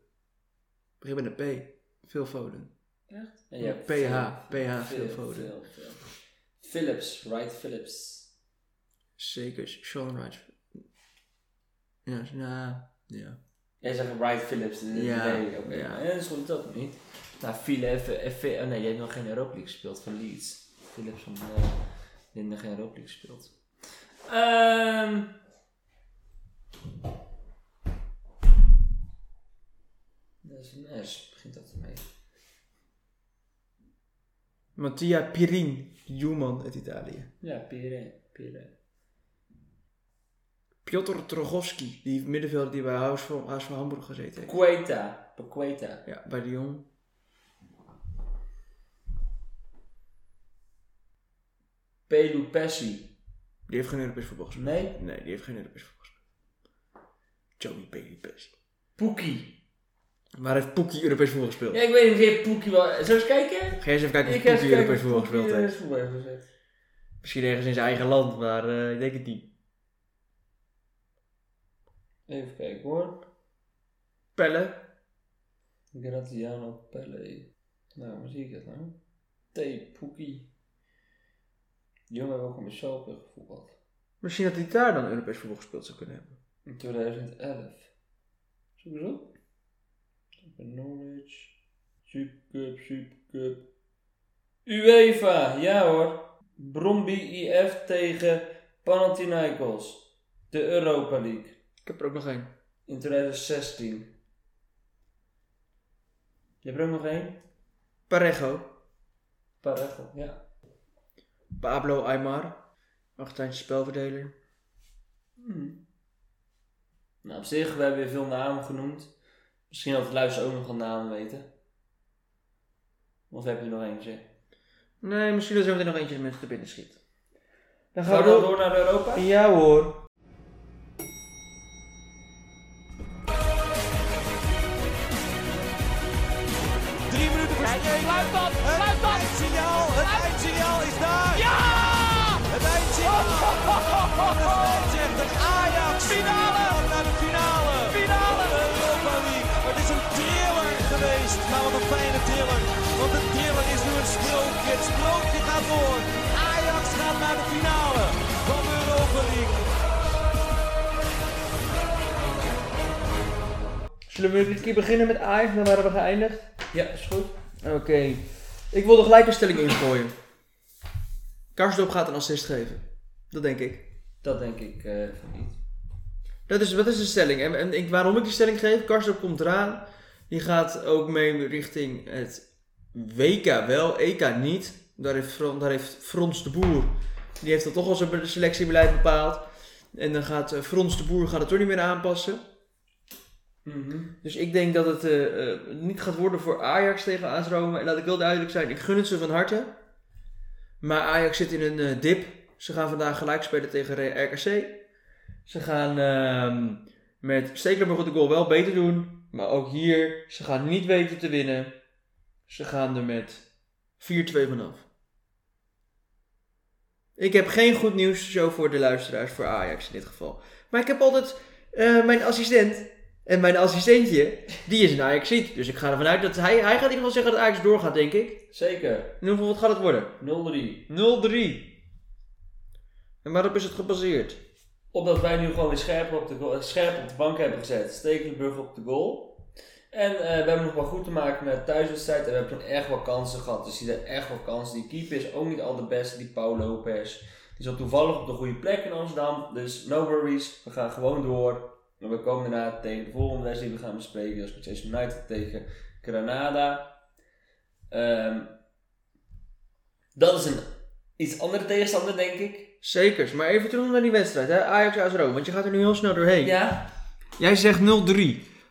S1: Begin met een P. Phil Foden.
S2: Echt?
S1: Ja, PH, PH, veel foden.
S2: Philips, Wright Philips.
S1: Zekers. Sean Wright. Ja, ja. ja.
S2: Jij zegt Wright Philips. dus
S1: Ja,
S2: Nee, oké.
S1: ja.
S2: Nee, dat is goed, dat niet. Nou, Philips, F, oh nee, jij hebt nog geen Europa League gespeeld van Leeds. Philips van, eh, die heeft nog geen Europa League gespeeld. Ehm Dat is een S, begint altijd mee.
S1: Mattia Pirin. Juman uit Italië.
S2: Ja, Pire, Pire.
S1: Piotr Trogowski. Die middenvelder die bij HSV HSV Hamburg gezeten heeft.
S2: Queta, Paqueta.
S1: Ja, bij Lyon.
S2: Pelu Pessi.
S1: Die heeft geen Europees voetbal gespeeld.
S2: Nee,
S1: Nee, die heeft geen Europees voetbal gespeeld. Joey Baby Pessie.
S2: Poekie.
S1: Waar heeft Poekie Europees voetbal gespeeld?
S2: Ja, ik weet niet wie Poekie wel. Zullen we eens kijken?
S1: Ga eens even kijken of
S2: Ik ga eens
S1: Poekie
S2: kijken
S1: Europees
S2: of
S1: voetbal
S2: Poekie
S1: gespeeld
S2: Europees
S1: heeft.
S2: voetbal heeft gezet.
S1: Misschien ergens in zijn eigen land, maar eh, ik denk het niet.
S2: Even kijken hoor.
S1: Pelle.
S2: Gratiano Pelle. Nou, waar zie ik dat nou? T. Poekie. Die jongen heeft ook een Schalke gevoetbald.
S1: Misschien dat hij daar dan Europees voetbal gespeeld zou kunnen hebben.
S2: In 2011. Zoek eens op. Super Norwich. Supercup, Supercup. UEFA, ja hoor. Bromby IF tegen Panathinaikos. De Europa League.
S1: Ik heb er ook nog één.
S2: In 2016. Je hebt er ook nog één?
S1: Parejo.
S2: Parejo, ja.
S1: Pablo Aymar. Argentijnse spelverdeler.
S2: Hmm. Nou, op zich, we hebben weer veel namen genoemd. Misschien had het luister ook nog een naam weten. Of heb je er nog eentje?
S1: Nee, misschien dat er nog eentje de mensen te binnen schiet. Dan
S2: Gaan we dan
S1: door.
S2: door naar Europa?
S1: Ja hoor.
S4: Drie minuten voor Kijk, sluit dat, sluit dat! Het eindsignaal, het eindsignaal is daar! Ja! Het eindsignaal! De scheidsrechter Ajax! Finale! Naar de finale! Finale! Europa League! Het is een thriller geweest, maar wat een fijne thriller! Want de thriller is nu een sprookje, het sprookje gaat door! Ajax gaat naar de finale van de Europa League!
S1: Zullen we dit keer beginnen met Ajax, dan waren we geëindigd?
S2: Ja, is goed.
S1: Oké. Ik wilde gelijk een stelling ingooien. Karsdorp gaat een assist geven. Dat denk ik.
S2: Dat denk ik eh, van niet.
S1: Dat is, dat is de stelling. En, en ik, waarom ik die stelling geef, Karsten komt eraan. Die gaat ook mee richting het WK wel, EK niet. Daar heeft, Fran- daar heeft Frans de Boer, die heeft dat toch al zijn be- selectiebeleid bepaald. En dan gaat eh, Frans de Boer gaat het toch niet meer aanpassen. Dus ik denk dat het eh, eh, niet gaat worden voor Ajax tegen AS Roma. En laat ik wel duidelijk zijn, ik gun het ze van harte. Maar Ajax zit in een eh, dip. Ze gaan vandaag gelijk spelen tegen Re- RKC. Ze gaan ehm, met Stekelenburg op de goal wel beter doen. Maar ook hier, ze gaan niet weten te winnen. Ze gaan er met 4-2 vanaf. Ik heb geen goed nieuws zo voor de luisteraars, voor Ajax in dit geval. Maar ik heb altijd eh, mijn assistent en mijn assistentje, die is een Ajax-ziet. Dus ik ga ervan uit dat hij, hij gaat in ieder geval zeggen dat Ajax doorgaat, denk ik.
S2: Zeker.
S1: In ieder geval, wat gaat het worden?
S2: 0-3.
S1: 0-3. En waarop is het gebaseerd?
S2: Omdat wij nu gewoon weer scherp op de, goal- eh, scherp op de bank hebben gezet. Stekelenburg op de goal. En eh, we hebben nog wel goed te maken met thuiswedstrijd. En we hebben toen echt wel kansen gehad. Dus die echt wel kansen. Die keeper is ook niet al de beste. Die Paul Lopez. Die zat toevallig op de goede plek in Amsterdam. Dus no worries. We gaan gewoon door. En we komen daarna tegen de volgende wedstrijd die we gaan bespreken. Dat is Manchester United tegen Granada. Ehm, dat is een iets andere tegenstander, denk ik.
S1: Zekers, maar even terug naar die wedstrijd, hè? Ajax AS Roma, want je gaat er nu heel snel doorheen.
S2: Ja,
S1: Jij zegt 0-3.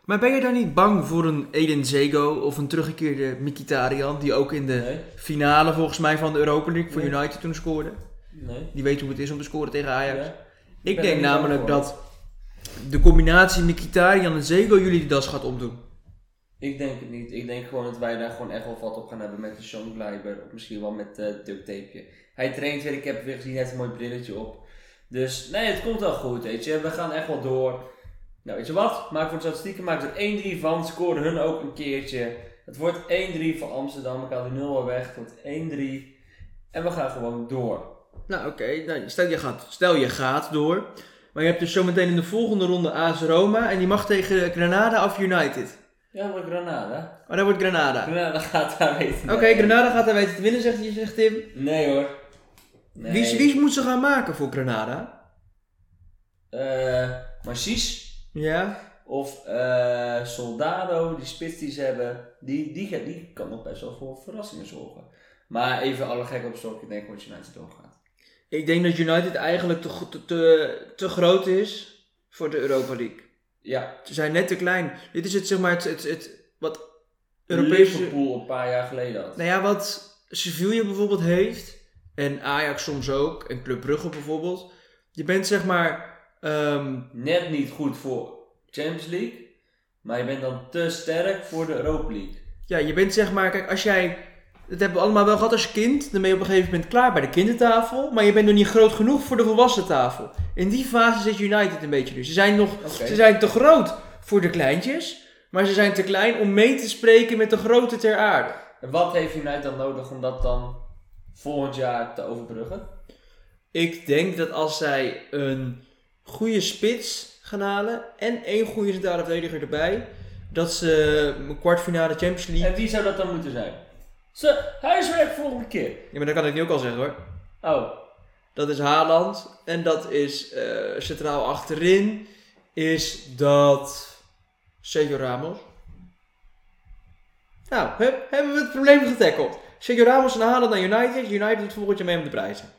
S1: Maar ben je daar niet bang voor een Eden Zego of een teruggekeerde Mikitarian, die ook in de
S2: Nee.
S1: finale volgens mij van de Europa League voor
S2: Nee.
S1: United toen scoorde?
S2: nee.
S1: Die weet hoe het is om te scoren tegen Ajax.
S2: Ja.
S1: Ik
S2: ben er
S1: denk
S2: niet bang
S1: namelijk
S2: voor.
S1: dat de combinatie Mikitarian en Zego jullie de das gaat omdoen.
S2: Ik denk het niet. Ik denk gewoon dat wij daar gewoon echt wel wat op gaan hebben met de Sean Gleiber. Of misschien wel met eh duct tapeje. Hij traint weer. Ik heb weer gezien. Hij heeft een mooi brilletje op. Dus nee, het komt wel goed. Weet je. We gaan echt wel door. Nou, weet je wat? Maak voor de statistieken. Maak er 1-3 van. Scoren hun ook een keertje. Het wordt 1-3 voor Amsterdam. Ik haal die 0 al weg. Het wordt 1-3. En we gaan gewoon door.
S1: Nou oké, nou, stel, je gaat, stel je gaat door. Maar je hebt dus zometeen in de volgende ronde AS Roma en die mag tegen Granada of United.
S2: Ja, maar Granada.
S1: Maar dat wordt Granada.
S2: Granada gaat daar weten.
S1: Oké, Granada gaat daar weten te winnen, zegt, zegt Tim.
S2: Nee hoor. Nee.
S1: Wie, wie moet ze gaan maken voor Granada?
S2: Eh, maar Cies.
S1: Ja.
S2: Of eh, Soldado, die spits die ze hebben, die, die, gaat- die kan nog best wel voor verrassingen zorgen. Maar even alle gek op stokje, denk ik, wat United doorgaat.
S1: Ik denk dat United eigenlijk te, go- te, te, te groot is voor de Europa League.
S2: Ja,
S1: Ze zijn net te klein. Dit is het, zeg maar, het, het, het wat Europese...
S2: Liverpool een paar jaar geleden had.
S1: Nou ja, wat Sevilla bijvoorbeeld heeft, en Ajax soms ook, en Club Brugge bijvoorbeeld. Je bent zeg maar... ehm,
S2: Net niet goed voor Champions League, maar je bent dan te sterk voor de Europa League.
S1: Ja, je bent zeg maar, kijk, als jij. Dat hebben we allemaal wel gehad als kind. Dan ben je op een gegeven moment klaar bij de kindertafel. Maar je bent nog niet groot genoeg voor de volwassen tafel. In die fase zit United een beetje nu. Ze zijn nog.
S2: Oké.
S1: Ze zijn te groot voor de kleintjes. Maar ze zijn te klein om mee te spreken met de grote ter aarde.
S2: En wat heeft United dan nodig om dat dan volgend jaar te overbruggen?
S1: Ik denk dat als zij een goede spits gaan halen. En één goede centrale verdediger erbij. Dat ze een kwartfinale Champions League.
S2: En wie zou dat dan moeten zijn? Ze, huiswerk volgende keer.
S1: Ja, maar dat kan ik nu ook al zeggen hoor.
S2: Oh,
S1: Dat is Haaland. En dat is eh, centraal achterin. Is dat. Sergio Ramos. Nou, hup, hebben we het probleem getackeld. Sergio Ramos en Haaland naar United. United doet volgend jaar mee om de prijzen.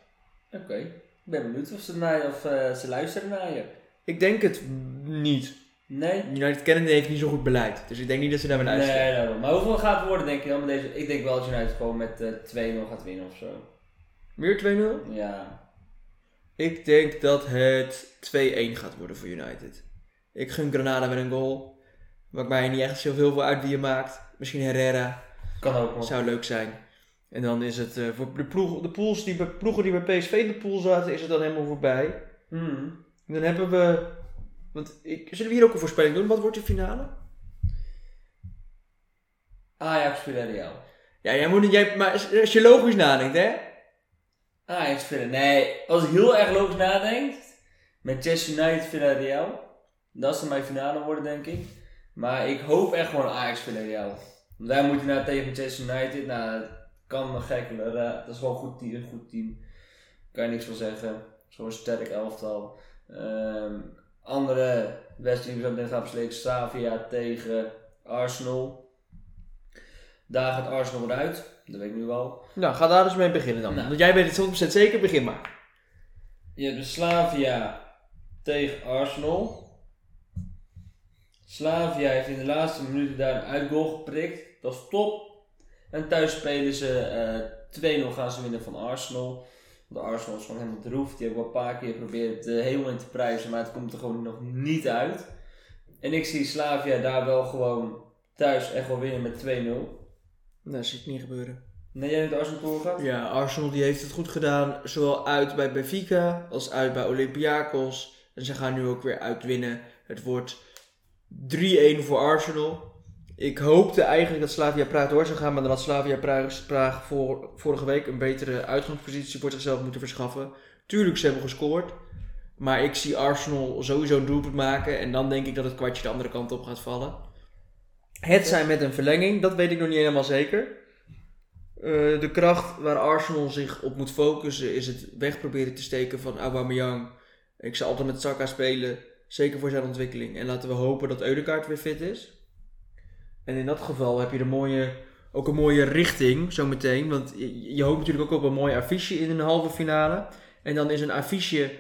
S2: oké. Ik ben benieuwd of ze, naar je- of, eh, ze luisteren naar je.
S1: Ik denk het niet.
S2: Nee?
S1: United Kennedy heeft niet zo goed beleid. Dus ik denk niet dat ze naar me luisteren.
S2: Nee, daarom. maar hoeveel gaat het worden, denk je dan? Met deze? Ik denk wel dat United gewoon met eh 2-0 gaat winnen of zo.
S1: Weer 2-0?
S2: Ja.
S1: Ik denk dat het 2-1 gaat worden voor United. Ik gun Granada met een goal. Maakt mij niet echt zoveel voor uit wie je maakt. Misschien Herrera.
S2: Kan ook nog.
S1: Zou leuk zijn. En dan is het eh, voor de, ploeg, de pools die, bij- ploegen die bij PSV in de pool zaten, is het dan helemaal voorbij.
S2: Hmm.
S1: En dan hebben we. Want ik, zullen we hier ook een voorspelling doen? Wat wordt de finale?
S2: Ajax Villarreal.
S1: Ja, jij moet. Jij, maar als- als je logisch nadenkt, hè?
S2: Ajax Villarreal. Nee, als ik heel erg logisch nadenk. Manchester United Villarreal. Dat zou mijn finale worden, denk ik. Maar ik hoop echt gewoon Ajax Villarreal. Want daar moet je naar tegen Manchester United. Nou, dat kan nog gek. maar, eh, Dat is gewoon een goed team. Een goed team. Kan je niks van zeggen. Zo'n sterk elftal. Ehm, andere wedstrijden die we zo meteen gaan bespreken. Savia tegen Arsenal. Daar gaat Arsenal eruit. Dat weet ik nu al.
S1: Nou, ga daar eens mee beginnen dan.
S2: Nou.
S1: Want jij weet het 100% zeker, begin maar.
S2: Je hebt dus Slavia tegen Arsenal. Slavia heeft in de laatste minuten daar een uitgoal geprikt. Dat is top. En thuis spelen ze eh 2-0 gaan ze winnen van Arsenal. Want Arsenal is gewoon helemaal droef. Die hebben wel een paar keer geprobeerd eh, helemaal in te prijzen. Maar het komt er gewoon nog niet uit. En ik zie Slavia daar wel gewoon thuis echt wel winnen met 2-0.
S1: Dat zie ik niet gebeuren.
S2: Nee, jij met Arsenal doorgaat?
S1: Ja, Arsenal die heeft het goed gedaan. Zowel uit bij Benfica als uit bij Olympiakos. En ze gaan nu ook weer uitwinnen. Het wordt 3-1 voor Arsenal. Ik hoopte eigenlijk dat Slavia Praag door zou gaan. Maar dan had Slavia Praag, Praag voor, vorige week een betere uitgangspositie voor zichzelf moeten verschaffen. Tuurlijk, ze hebben gescoord. Maar ik zie Arsenal sowieso een doelpunt maken. En dan denk ik dat het kwartje de andere kant op gaat vallen. Het zijn met een verlenging, dat weet ik nog niet helemaal zeker. Eh, de kracht waar Arsenal zich op moet focussen is het wegproberen te steken van Aubameyang. Ik zal altijd met Saka spelen, zeker voor zijn ontwikkeling. En laten we hopen dat Eudekaart weer fit is. En in dat geval heb je de mooie, ook een mooie richting zometeen. Want je, je hoopt natuurlijk ook op een mooi affiche in een halve finale. En dan is een affiche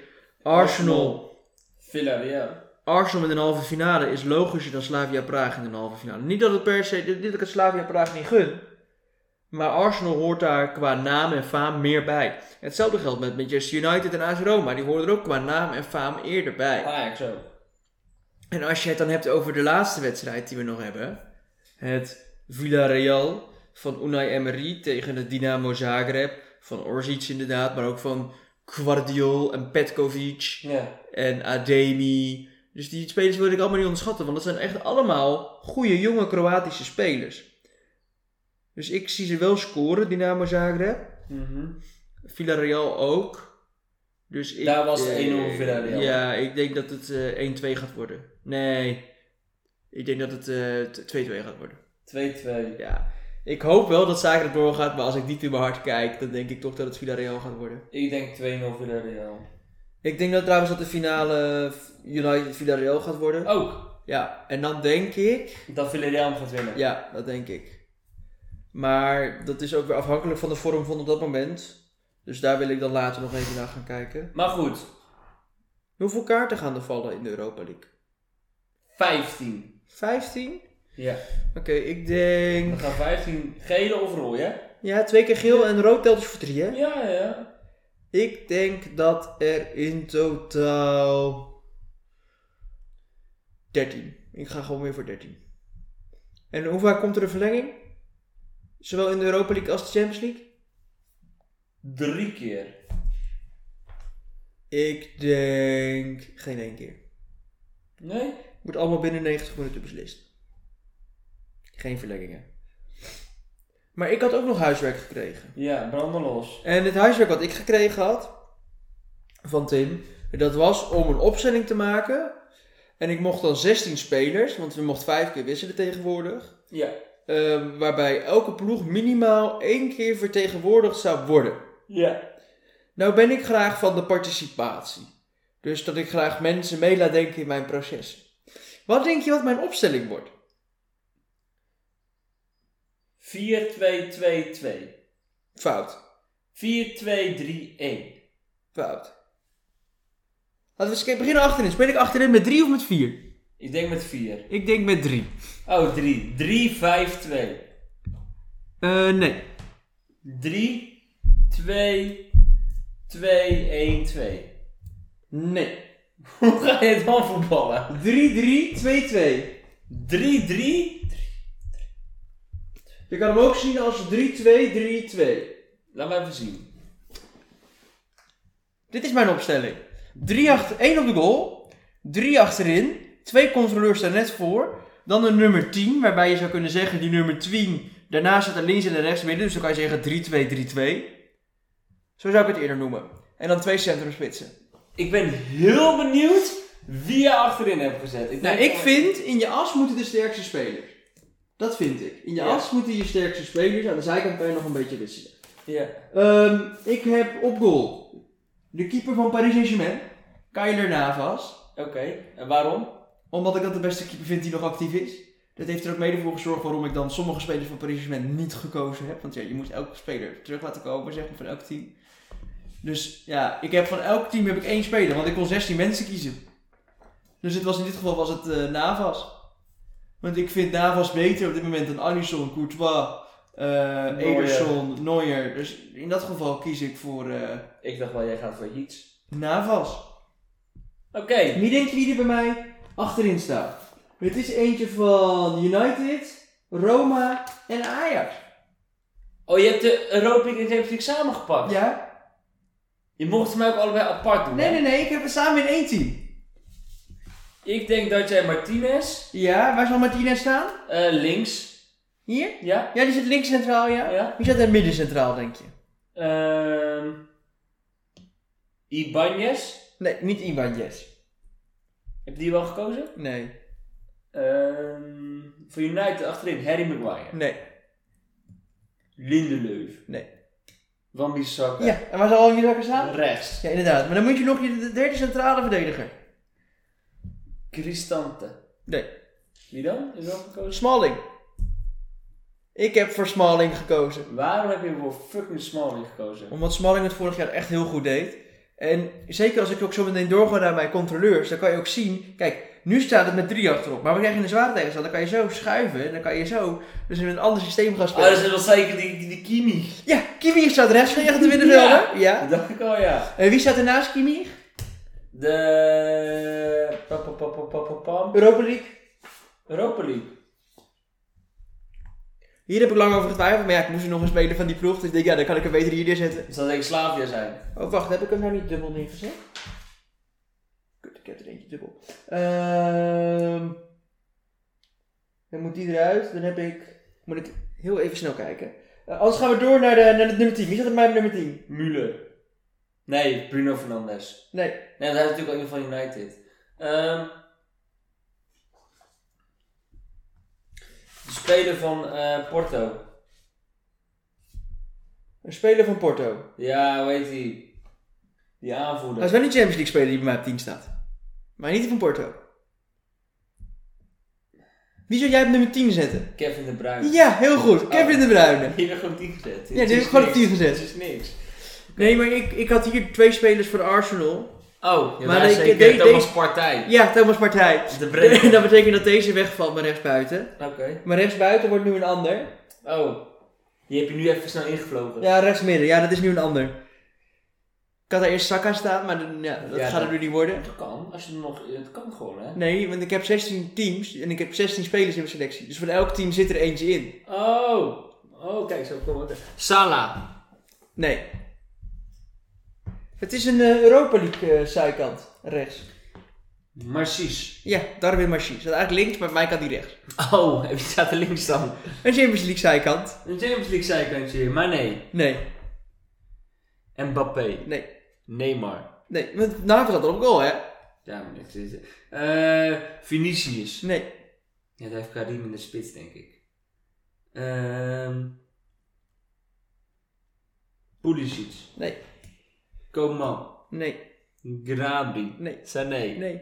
S1: Arsenal
S2: Villarreal.
S1: Arsenal in een halve finale is logischer dan Slavia Praag in een halve finale. Niet dat het per se, niet dat ik het Slavia Praag niet gun. Maar Arsenal hoort daar qua naam en faam meer bij. Hetzelfde geldt met Manchester United en AS Roma. Die horen er ook qua naam en faam eerder bij.
S2: Ajax ook.
S1: En als je het dan hebt over de laatste wedstrijd die we nog hebben. Het Villarreal van Unai Emery tegen het Dynamo Zagreb. Van Orzic inderdaad, maar ook van Guardiol en Petkovic
S2: Ja.
S1: en Ademi. Dus die spelers wil ik allemaal niet onderschatten, want dat zijn echt allemaal goede jonge Kroatische spelers. Dus ik zie ze wel scoren, Dynamo Zagreb.
S2: Mhm.
S1: Villarreal ook. Dus ik,
S2: Daar was
S1: eh,
S2: 1-0 voor Villarreal.
S1: Ja, ik denk dat het eh, 1-2 gaat worden. Nee, ik denk dat het eh, 2-2 gaat worden.
S2: 2-2.
S1: Ja, ik hoop wel dat Zagreb doorgaat, maar als ik diep in mijn hart kijk, dan denk ik toch dat het Villarreal gaat worden.
S2: Ik denk 2-0 Villarreal.
S1: Ik denk dat trouwens dat de finale eh, United-Villarreal gaat worden.
S2: Ook.
S1: Ja, en dan denk ik.
S2: Dat Villarreal hem gaat winnen.
S1: Ja, dat denk ik. Maar dat is ook weer afhankelijk van de vorm van op dat moment. Dus daar wil ik dan later nog even naar gaan kijken.
S2: Maar goed,
S1: Hoeveel kaarten gaan er vallen in de Europa League?
S2: 15.
S1: 15? Oké,
S2: Ja.
S1: ik
S2: We
S1: denk.
S2: gaan 15 gele of rooi, hè?
S1: Ja, twee keer geel en rood telt dus voor drie, hè?
S2: Ja, ja.
S1: Ik denk dat er in totaal. 13. Ik ga gewoon weer voor 13. En hoe vaak komt er een verlenging? Zowel in de Europa League als de Champions League?
S2: Drie keer.
S1: Ik denk geen één keer.
S2: Nee?
S1: Wordt allemaal binnen 90 minuten beslist. Geen verlengingen. Maar ik had ook nog huiswerk gekregen.
S2: Ja, branden los.
S1: En het huiswerk wat ik gekregen had van Tim, dat was om een opstelling te maken. En ik mocht dan 16 spelers, want we mochten 5 keer wisselen tegenwoordig.
S2: Ja.
S1: eh, waarbij elke ploeg minimaal één keer vertegenwoordigd zou worden.
S2: Ja.
S1: Nou ben ik graag van de participatie. Dus dat ik graag mensen mee laat denken in mijn proces. Wat denk je wat mijn opstelling wordt?
S2: 4-2-2-2.
S1: Fout.
S2: 4-2-3-1.
S1: Fout. Laten we eens beginnen achterin. Speel ik achterin met 3 of met 4?
S2: Ik denk met 4.
S1: Ik denk met 3.
S2: Oh, 3. 3-5-2.
S1: Eh, nee.
S2: 3, 2, 2, 1, 2.
S1: Nee.
S2: Hoe ga je dan voetballen?
S1: 3-3-2-2.
S2: 3-3?
S1: Je kan hem ook zien als 3-2-3-2.
S2: Laat maar even zien.
S1: Dit is mijn opstelling. 3 achter, 1 op de goal, 3 achterin, twee controleurs daar net voor. Dan een nummer 10, waarbij je zou kunnen zeggen die nummer 10, daarnaast staat er links en de rechts midden, dus dan kan je zeggen 3-2-3-2. Zo zou ik het eerder noemen. En dan twee centrumspitsen.
S2: Ik ben heel benieuwd wie je achterin hebt gezet.
S1: Nou,
S2: denk-
S1: ik vind, in je as moeten de sterkste spelers. Dat vind ik. In je
S2: Ja.
S1: as moeten je sterkste spelers, aan de zijkant kan je nog een beetje wisselen.
S2: Ja.
S1: Ehm, ik heb op goal De keeper van Paris Saint-Germain, Kyler Navas.
S2: Oké, en waarom?
S1: Omdat ik dat de beste keeper vind die nog actief is. Dat heeft er ook mede voor gezorgd waarom ik dan sommige spelers van Paris Saint-Germain niet gekozen heb. Want ja, je moet elke speler terug laten komen, zeg maar, van elk team. Dus ja, ik heb van elk team heb ik één speler, want ik kon 16 mensen kiezen. Dus het was in dit geval was het eh, Navas. Want ik vind Navas beter op dit moment dan Alisson, Courtois, eh
S2: Neuer.
S1: Ederson, Neuer. Dus in dat geval kies ik voor eh,
S2: Ik dacht wel, jij gaat voor iets.
S1: Navas.
S2: Oké,
S1: Wie denkt wie er bij mij achterin staat? Het is eentje van United, Roma en Ajax.
S2: oh je hebt de Europa League en de Champions League samengepakt.
S1: Ja?
S2: Je mocht hem ook allebei apart doen.
S1: Nee,
S2: hè?
S1: nee, nee, ik heb het samen in één team.
S2: Ik denk dat jij Martinez,
S1: Ja, waar zal Martinez staan?
S2: eh, links,
S1: Hier?
S2: ja,
S1: Ja, die zit links centraal, ja?
S2: Ja.
S1: Wie zit er midden centraal, denk je?
S2: ehm Ibanez,
S1: Nee, niet Ibanez.
S2: heb je die wel gekozen?
S1: Nee.
S2: Ehm, voor United achterin Harry Maguire,
S1: Nee.
S2: Lindelöf,
S1: Nee.
S2: Van Bissaka,
S1: Ja, en waar zal al zakken staan?
S2: rechts,
S1: Ja, inderdaad. Maar dan moet je nog je de derde centrale verdediger.
S2: Cristante.
S1: Nee.
S2: Wie dan? Is dat gekozen?
S1: Smalling. Ik heb voor Smalling gekozen.
S2: Waarom heb je voor fucking Smalling gekozen?
S1: Omdat Smalling het vorig jaar echt heel goed deed. En zeker als ik ook zo meteen doorga naar mijn controleurs, dan kan je ook zien. Kijk, nu staat het met drie achterop. Maar we krijgen een zware tegenstander. Dan kan je zo schuiven. En dan kan je zo dus in een ander systeem gaan
S2: Ah,
S1: spelen.
S2: dat is wel zeker die, die, die Kimi.
S1: Ja, Kimmich staat rechts van je te middenvelder. Ja.
S2: Dat dacht ik al, ja.
S1: En wie staat ernaast Kimmich?
S2: De... pa, pa, pa, pa, pa, pa, pam.
S1: Europa League.
S2: Europa League.
S1: Hier heb ik lang over getwijfeld. Maar ja, ik moest er nog een speler van die ploeg. Dus ik denk, ja, dan kan ik hem beter hier neerzetten.
S2: Dus dat denk ik Slavia zijn.
S1: Oh, wacht, heb ik hem nou niet dubbel neergezet? Kut, ik heb er eentje dubbel. Ehm dan moet die eruit. Dan heb ik. Moet ik heel even snel kijken. Eh, anders gaan we door naar, de, naar het nummer 10. Wie zat er bij mij op nummer 10?
S2: Müller. Nee, Bruno Fernandes.
S1: Nee.
S2: Nee, want hij is natuurlijk ook een van United. Ehm de speler van eh, Porto.
S1: Een speler van Porto.
S2: Ja, hoe heet die? Die
S1: Dat is
S2: aanvoerder.
S1: wel een Champions League speler die bij mij op 10 staat. Maar niet die van Porto. Wie zou jij op nummer 10 zetten?
S2: Kevin de Bruyne.
S1: Ja, Oh. heel goed. Kevin de Bruyne.
S2: Die heb ik gewoon 10 gezet.
S1: Ja, die heb ik gewoon op 10 gezet.
S2: Dat is niks.
S1: Nee, maar ik, ik had hier twee spelers voor Arsenal.
S2: Oh,
S1: Maar
S2: ja, maar
S1: ik-
S2: ik zeker.
S1: de-
S2: Thomas
S1: de-
S2: Partij.
S1: Ja, Thomas Partij.
S2: De Brede.
S1: dat betekent dat deze wegvalt, maar rechtsbuiten.
S2: Oké.
S1: Maar rechtsbuiten wordt nu een ander.
S2: Oh, die heb je nu even snel ingevlogen.
S1: Ja, rechtsmidden. Ja, dat is nu een ander. Ik had daar eerst Saka staan, maar dan- ja, dat
S2: Ja,
S1: gaat er
S2: dat-
S1: nu niet worden.
S2: Dat kan, als je nog... Het kan gewoon, hè?
S1: Nee, want ik heb 16 teams en ik heb 16 spelers in mijn selectie. Dus van elk team zit er eentje in.
S2: Oh. Oh, kijk, zo kom ik. Sala.
S1: Nee. Het is een eh, Europa League eh, zijkant, rechts.
S2: Marcis.
S1: Ja, Darwin Machine. Staat eigenlijk links, maar mijn kant die rechts.
S2: Oh, en wie staat er links dan?
S1: Een Champions League zijkant.
S2: Een James League zijkantje, maar nee.
S1: Nee,
S2: Mbappé.
S1: nee,
S2: Neymar.
S1: nee. Want Navas had er op goal, hè?
S2: Ja, maar niks is Eh, Vinicius.
S1: Nee.
S2: Ja, daar heeft Karim in de spits, denk ik. Ehm... Pulisic.
S1: Nee.
S2: Coman.
S1: Nee.
S2: Grabi.
S1: Nee.
S2: Sané.
S1: Nee.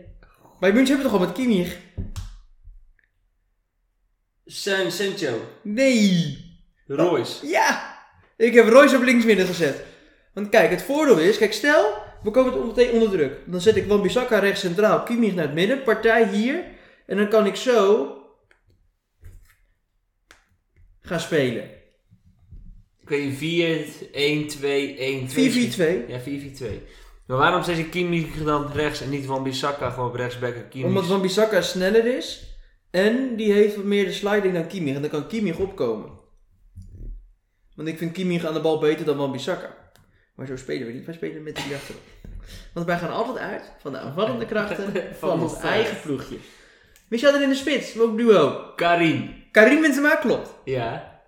S1: Bij München hebben we toch al met Kimmich?
S2: San Sancho.
S1: Nee.
S2: Royce.
S1: Ja! Ik heb Royce op linksmidden gezet. Want kijk, het voordeel is, kijk stel, we komen het meteen onder druk. Dan zet ik Wan-Bissaka rechts centraal, Kimmich naar het midden, partij hier. En dan kan ik zo gaan spelen.
S2: Ik weet niet, 4, 1, 2, 1, 2.
S1: 4-4-2.
S2: Ja, 4, 4, 2. Maar waarom zet je Kimmich dan rechts en niet Van Bissaka gewoon op rechtsback en Kimmich?
S1: Omdat Wan-Bissaka sneller is. En die heeft wat meer de sliding dan Kimmich. En dan kan Kimmich opkomen. Want ik vind Kimmich aan de bal beter dan Wan-Bissaka. Maar zo spelen we niet. Wij spelen met die achterop. Want wij gaan altijd uit van de aanvallende krachten van, ons eigen ploeg.
S2: ploegje.
S1: Wie staat er in de spits? Welk duo?
S2: Karim.
S1: Karim Benzema klopt.
S2: Ja.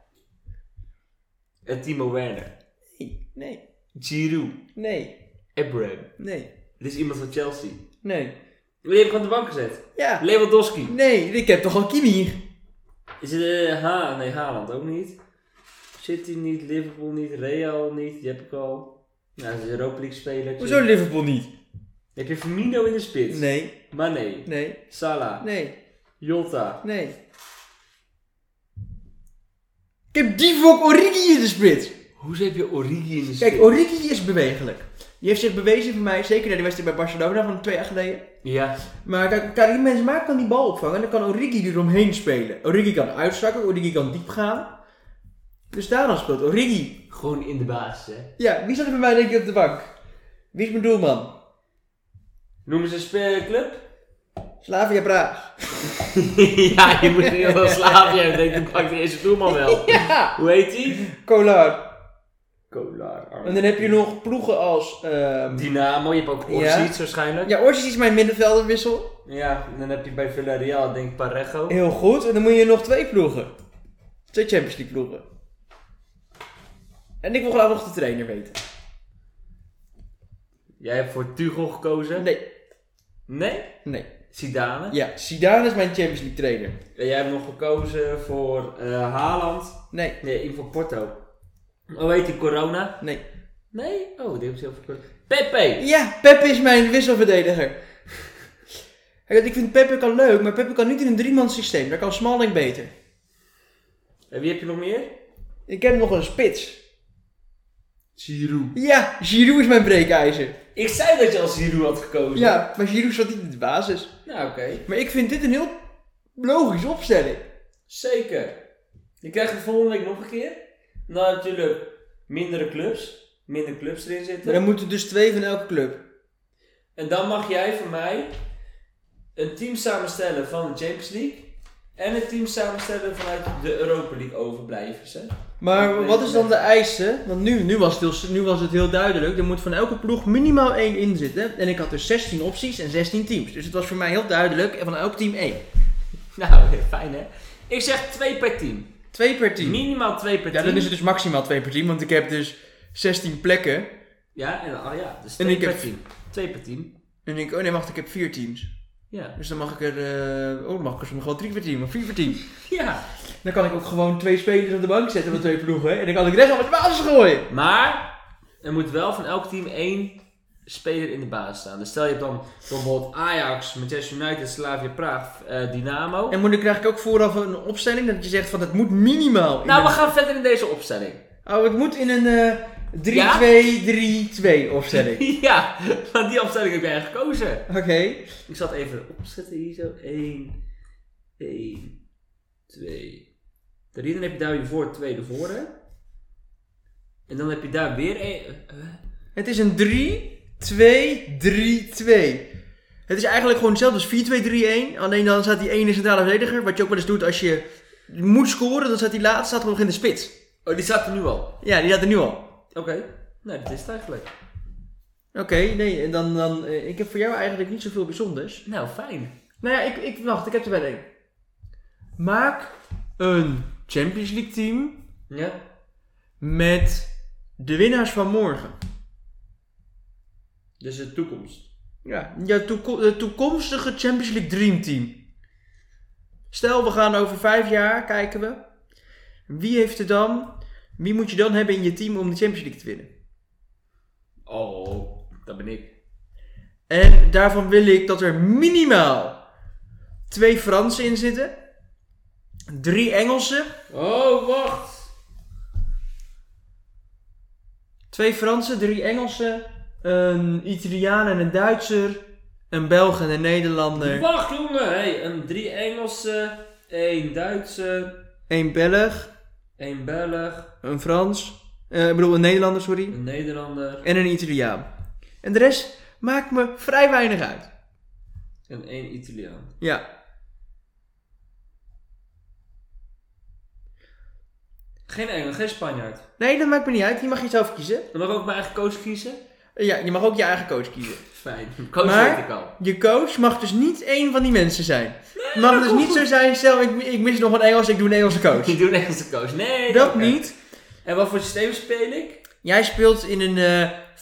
S2: En Timo Werner.
S1: Nee, nee,
S2: Giroud.
S1: nee,
S2: Abraham.
S1: nee,
S2: Dit is iemand van Chelsea.
S1: nee.
S2: Die heb ik aan de bank gezet.
S1: Ja,
S2: Lewandowski.
S1: nee, ik heb toch al Kimmich.
S2: Is het eh, Ha? Nee, Haaland ook niet. City niet, Liverpool niet, Real niet. Die heb ik al. Ja, dat is een Europa League speler.
S1: Hoezo Liverpool niet?
S2: Heb je Firmino in de spits?
S1: Nee,
S2: Mane.
S1: nee,
S2: Salah.
S1: nee,
S2: Jota.
S1: nee. Ik heb Divock Origi in de spits.
S2: Hoezo heb je Origi in de spits?
S1: Kijk, Origi is bewegelijk. Die heeft zich bewezen voor mij, zeker na de wedstrijd bij Barcelona van twee jaar geleden.
S2: Ja.
S1: Maar kijk, Karim Benzema kan die bal opvangen en dan kan Origi eromheen spelen. Origi kan uitzakken, Origi kan diep gaan. Dus daarom speelt Origi.
S2: Gewoon in de basis, hè.
S1: Ja, wie staat er bij mij denk ik op de bank? Wie is mijn doelman?
S2: Noem eens een speelclub.
S1: Slavia Praag.
S2: ja, je moet heel veel slapen. Jij denkt, dan pak ik deze doelman wel.
S1: Ja!
S2: Hoe heet die?
S1: Kolar.
S2: Kolar.
S1: En dan heb je nog ploegen als... ehm,
S2: Dynamo. Je hebt ook
S1: Ja.
S2: Orsic waarschijnlijk.
S1: Ja, Orsic is mijn middenvelderwissel.
S2: Ja, en dan heb je bij Villarreal, denk ik, Parejo.
S1: Heel goed. En dan moet je nog twee ploegen. Twee Champions League ploegen. En ik wil graag nog de trainer weten.
S2: Jij hebt voor Tuchel gekozen.
S1: Nee,
S2: Nee?
S1: nee.
S2: Zidane.
S1: Ja, Zidane is mijn Champions League trainer.
S2: En jij hebt nog gekozen voor eh Haaland.
S1: Nee,
S2: Nee, in voor Porto. Hoe heet die, Corona?
S1: nee.
S2: Nee? Oh, die heb ik zelf verkozen. Pepe!
S1: Ja, Peppe is mijn wisselverdediger. Kijk, Ik vind Peppe kan leuk, maar Peppe kan niet in een driemans systeem. Daar kan Smalling beter.
S2: En wie heb je nog meer?
S1: Ik heb nog een spits.
S2: Giroud.
S1: Ja, Giroud is mijn breekijzer.
S2: Ik zei dat je al Giroud had gekozen.
S1: Ja, maar Giroud zat niet in de basis.
S2: Nou, oké.
S1: Maar ik vind dit een heel logische opstelling.
S2: Zeker. Je krijgt het volgende week nog een keer. Nou, natuurlijk mindere clubs. Minder clubs erin
S1: Maar
S2: zitten.
S1: dan moeten dus twee van elke club.
S2: En dan mag jij van mij een team samenstellen van de Champions League. En een team samenstellen vanuit de Europa League overblijvers. Hè?
S1: Maar wat is dan de eisen? Want nu, nu, was het heel, nu was het heel duidelijk. Er moet van elke ploeg minimaal één in zitten. En ik had dus 16 opties en 16 teams. Dus het was voor mij heel duidelijk. En van elk team één.
S2: Nou, fijn hè. Ik zeg twee per team.
S1: Twee per team.
S2: Minimaal twee per
S1: Ja,
S2: team.
S1: dan is het dus maximaal twee per team. Want ik heb dus 16 plekken.
S2: Ja, en, oh ja, dus
S1: En
S2: twee
S1: ik
S2: per
S1: heb-
S2: team. Twee per team.
S1: En ik, oh nee, wacht, ik heb vier teams.
S2: Ja.
S1: Dus dan mag ik er, eh, oh, dan mag ik er soms gewoon drie per team of vier per team.
S2: ja.
S1: Dan kan ik ook gewoon twee spelers op de bank zetten van twee ploegen. En dan kan ik de rest allemaal in de basis gooien.
S2: Maar er moet wel van elk team één speler in de baas staan. Dus stel je hebt dan bijvoorbeeld Ajax, Manchester United, Slavia Praag, eh, Dynamo.
S1: En moet ik, krijg ik ook vooraf een opstelling dat je zegt van het moet minimaal in
S2: Nou,
S1: een-
S2: we gaan verder in deze opstelling.
S1: Oh, het moet in een
S2: Ja?
S1: eh 3-2-3-2 opstelling.
S2: ja, want die opstelling heb jij gekozen.
S1: Oké.
S2: Ik zal het even opzetten hier zo. 1, 1, 2, 3. Dan heb je daar weer voor, 2 ervoor. Hè? En dan heb je daar weer eh, 1.
S1: Het is een 3-2-3-2. Het is eigenlijk gewoon hetzelfde als 4-2-3-1. Alleen dan staat die ene centrale verdediger. Wat je ook wel eens doet als je moet scoren. Dan staat die laatste staat gewoon nog in de spits.
S2: Oh, die staat er nu al.
S1: Ja, die staat er nu al.
S2: Oké, nou, dat is het eigenlijk.
S1: Oké, nee. En dan, dan, eh, ik heb voor jou eigenlijk niet zoveel bijzonders.
S2: Nou, fijn.
S1: Nou ja, ik, ik wacht. Ik heb er wel één. Maak een Champions League team
S2: Ja.
S1: met de winnaars van morgen.
S2: Dus de toekomst.
S1: Ja, ja toeko- de toekomstige Champions League Dream Team. Stel, we gaan over vijf jaar, kijken we. Wie heeft er dan... Wie moet je dan hebben in je team om de Champions League te winnen?
S2: Oh, dat ben ik.
S1: En daarvan wil ik dat er minimaal twee Fransen in zitten. Drie Engelsen.
S2: Oh, wacht.
S1: Twee Fransen, drie Engelsen. Een Italiaan en een Duitser. Een Belg en een Nederlander.
S2: Wacht, jongen. Hey, een drie Engelsen, één Duitse,
S1: Een Belg.
S2: één Belg,
S1: Een Frans. eh, ik bedoel, een Nederlander, sorry.
S2: een Nederlander
S1: en een Italiaan. En de rest maakt me vrij weinig uit.
S2: en één Italiaan.
S1: Ja.
S2: Geen Engel, geen Spanjaard.
S1: Nee, dat maakt me niet uit. Je mag jezelf kiezen.
S2: Dan mag ik ook mijn eigen coach kiezen?
S1: Eh, Ja, je mag ook je eigen coach kiezen.
S2: Fijn. Coach
S1: Maar-
S2: weet ik al.
S1: Je coach mag dus niet één van die mensen zijn. Het mag dus niet zo zijn, stel ik, ik mis nog een Engels, ik doe een Engelse coach.
S2: Je doet een Engelse coach. Nee.
S1: Dat
S2: oké.
S1: niet.
S2: En wat voor systeem speel ik?
S1: Jij speelt in een eh 5-3-2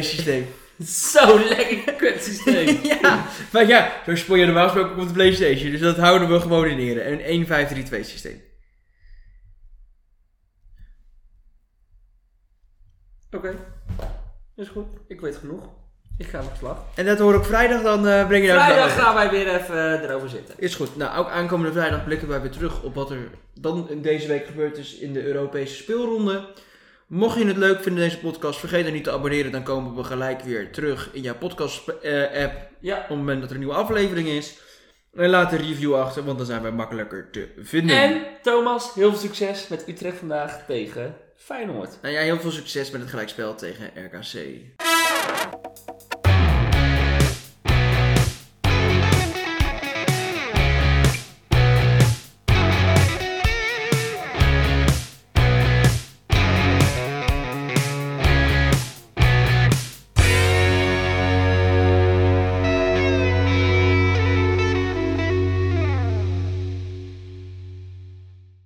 S1: systeem.
S2: Zo lekker kut systeem.
S1: ja, maar ja, zo speel je normaal gesproken ook op de Playstation. Dus dat houden we gewoon in ere. Een 1-5-3-2 systeem.
S2: Oké. Is goed. Ik weet genoeg. Ik ga aan de slag.
S1: En dat hoor ik vrijdag, dan eh, breng je daar
S2: Vrijdag
S1: over.
S2: gaan wij weer even eh, erover zitten.
S1: Is goed. Nou, ook aankomende vrijdag blikken wij weer terug op wat er dan in deze week gebeurd is in de Europese speelronde. Mocht je het leuk vinden, deze podcast, vergeet dan niet te abonneren. Dan komen we gelijk weer terug in jouw podcast-app
S2: Ja.
S1: op het moment dat er een nieuwe aflevering is. En laat een review achter, want dan zijn wij makkelijker te vinden.
S2: En Thomas, heel veel succes met Utrecht vandaag tegen Feyenoord.
S1: Nou ja, heel veel succes met het gelijkspel tegen RKC.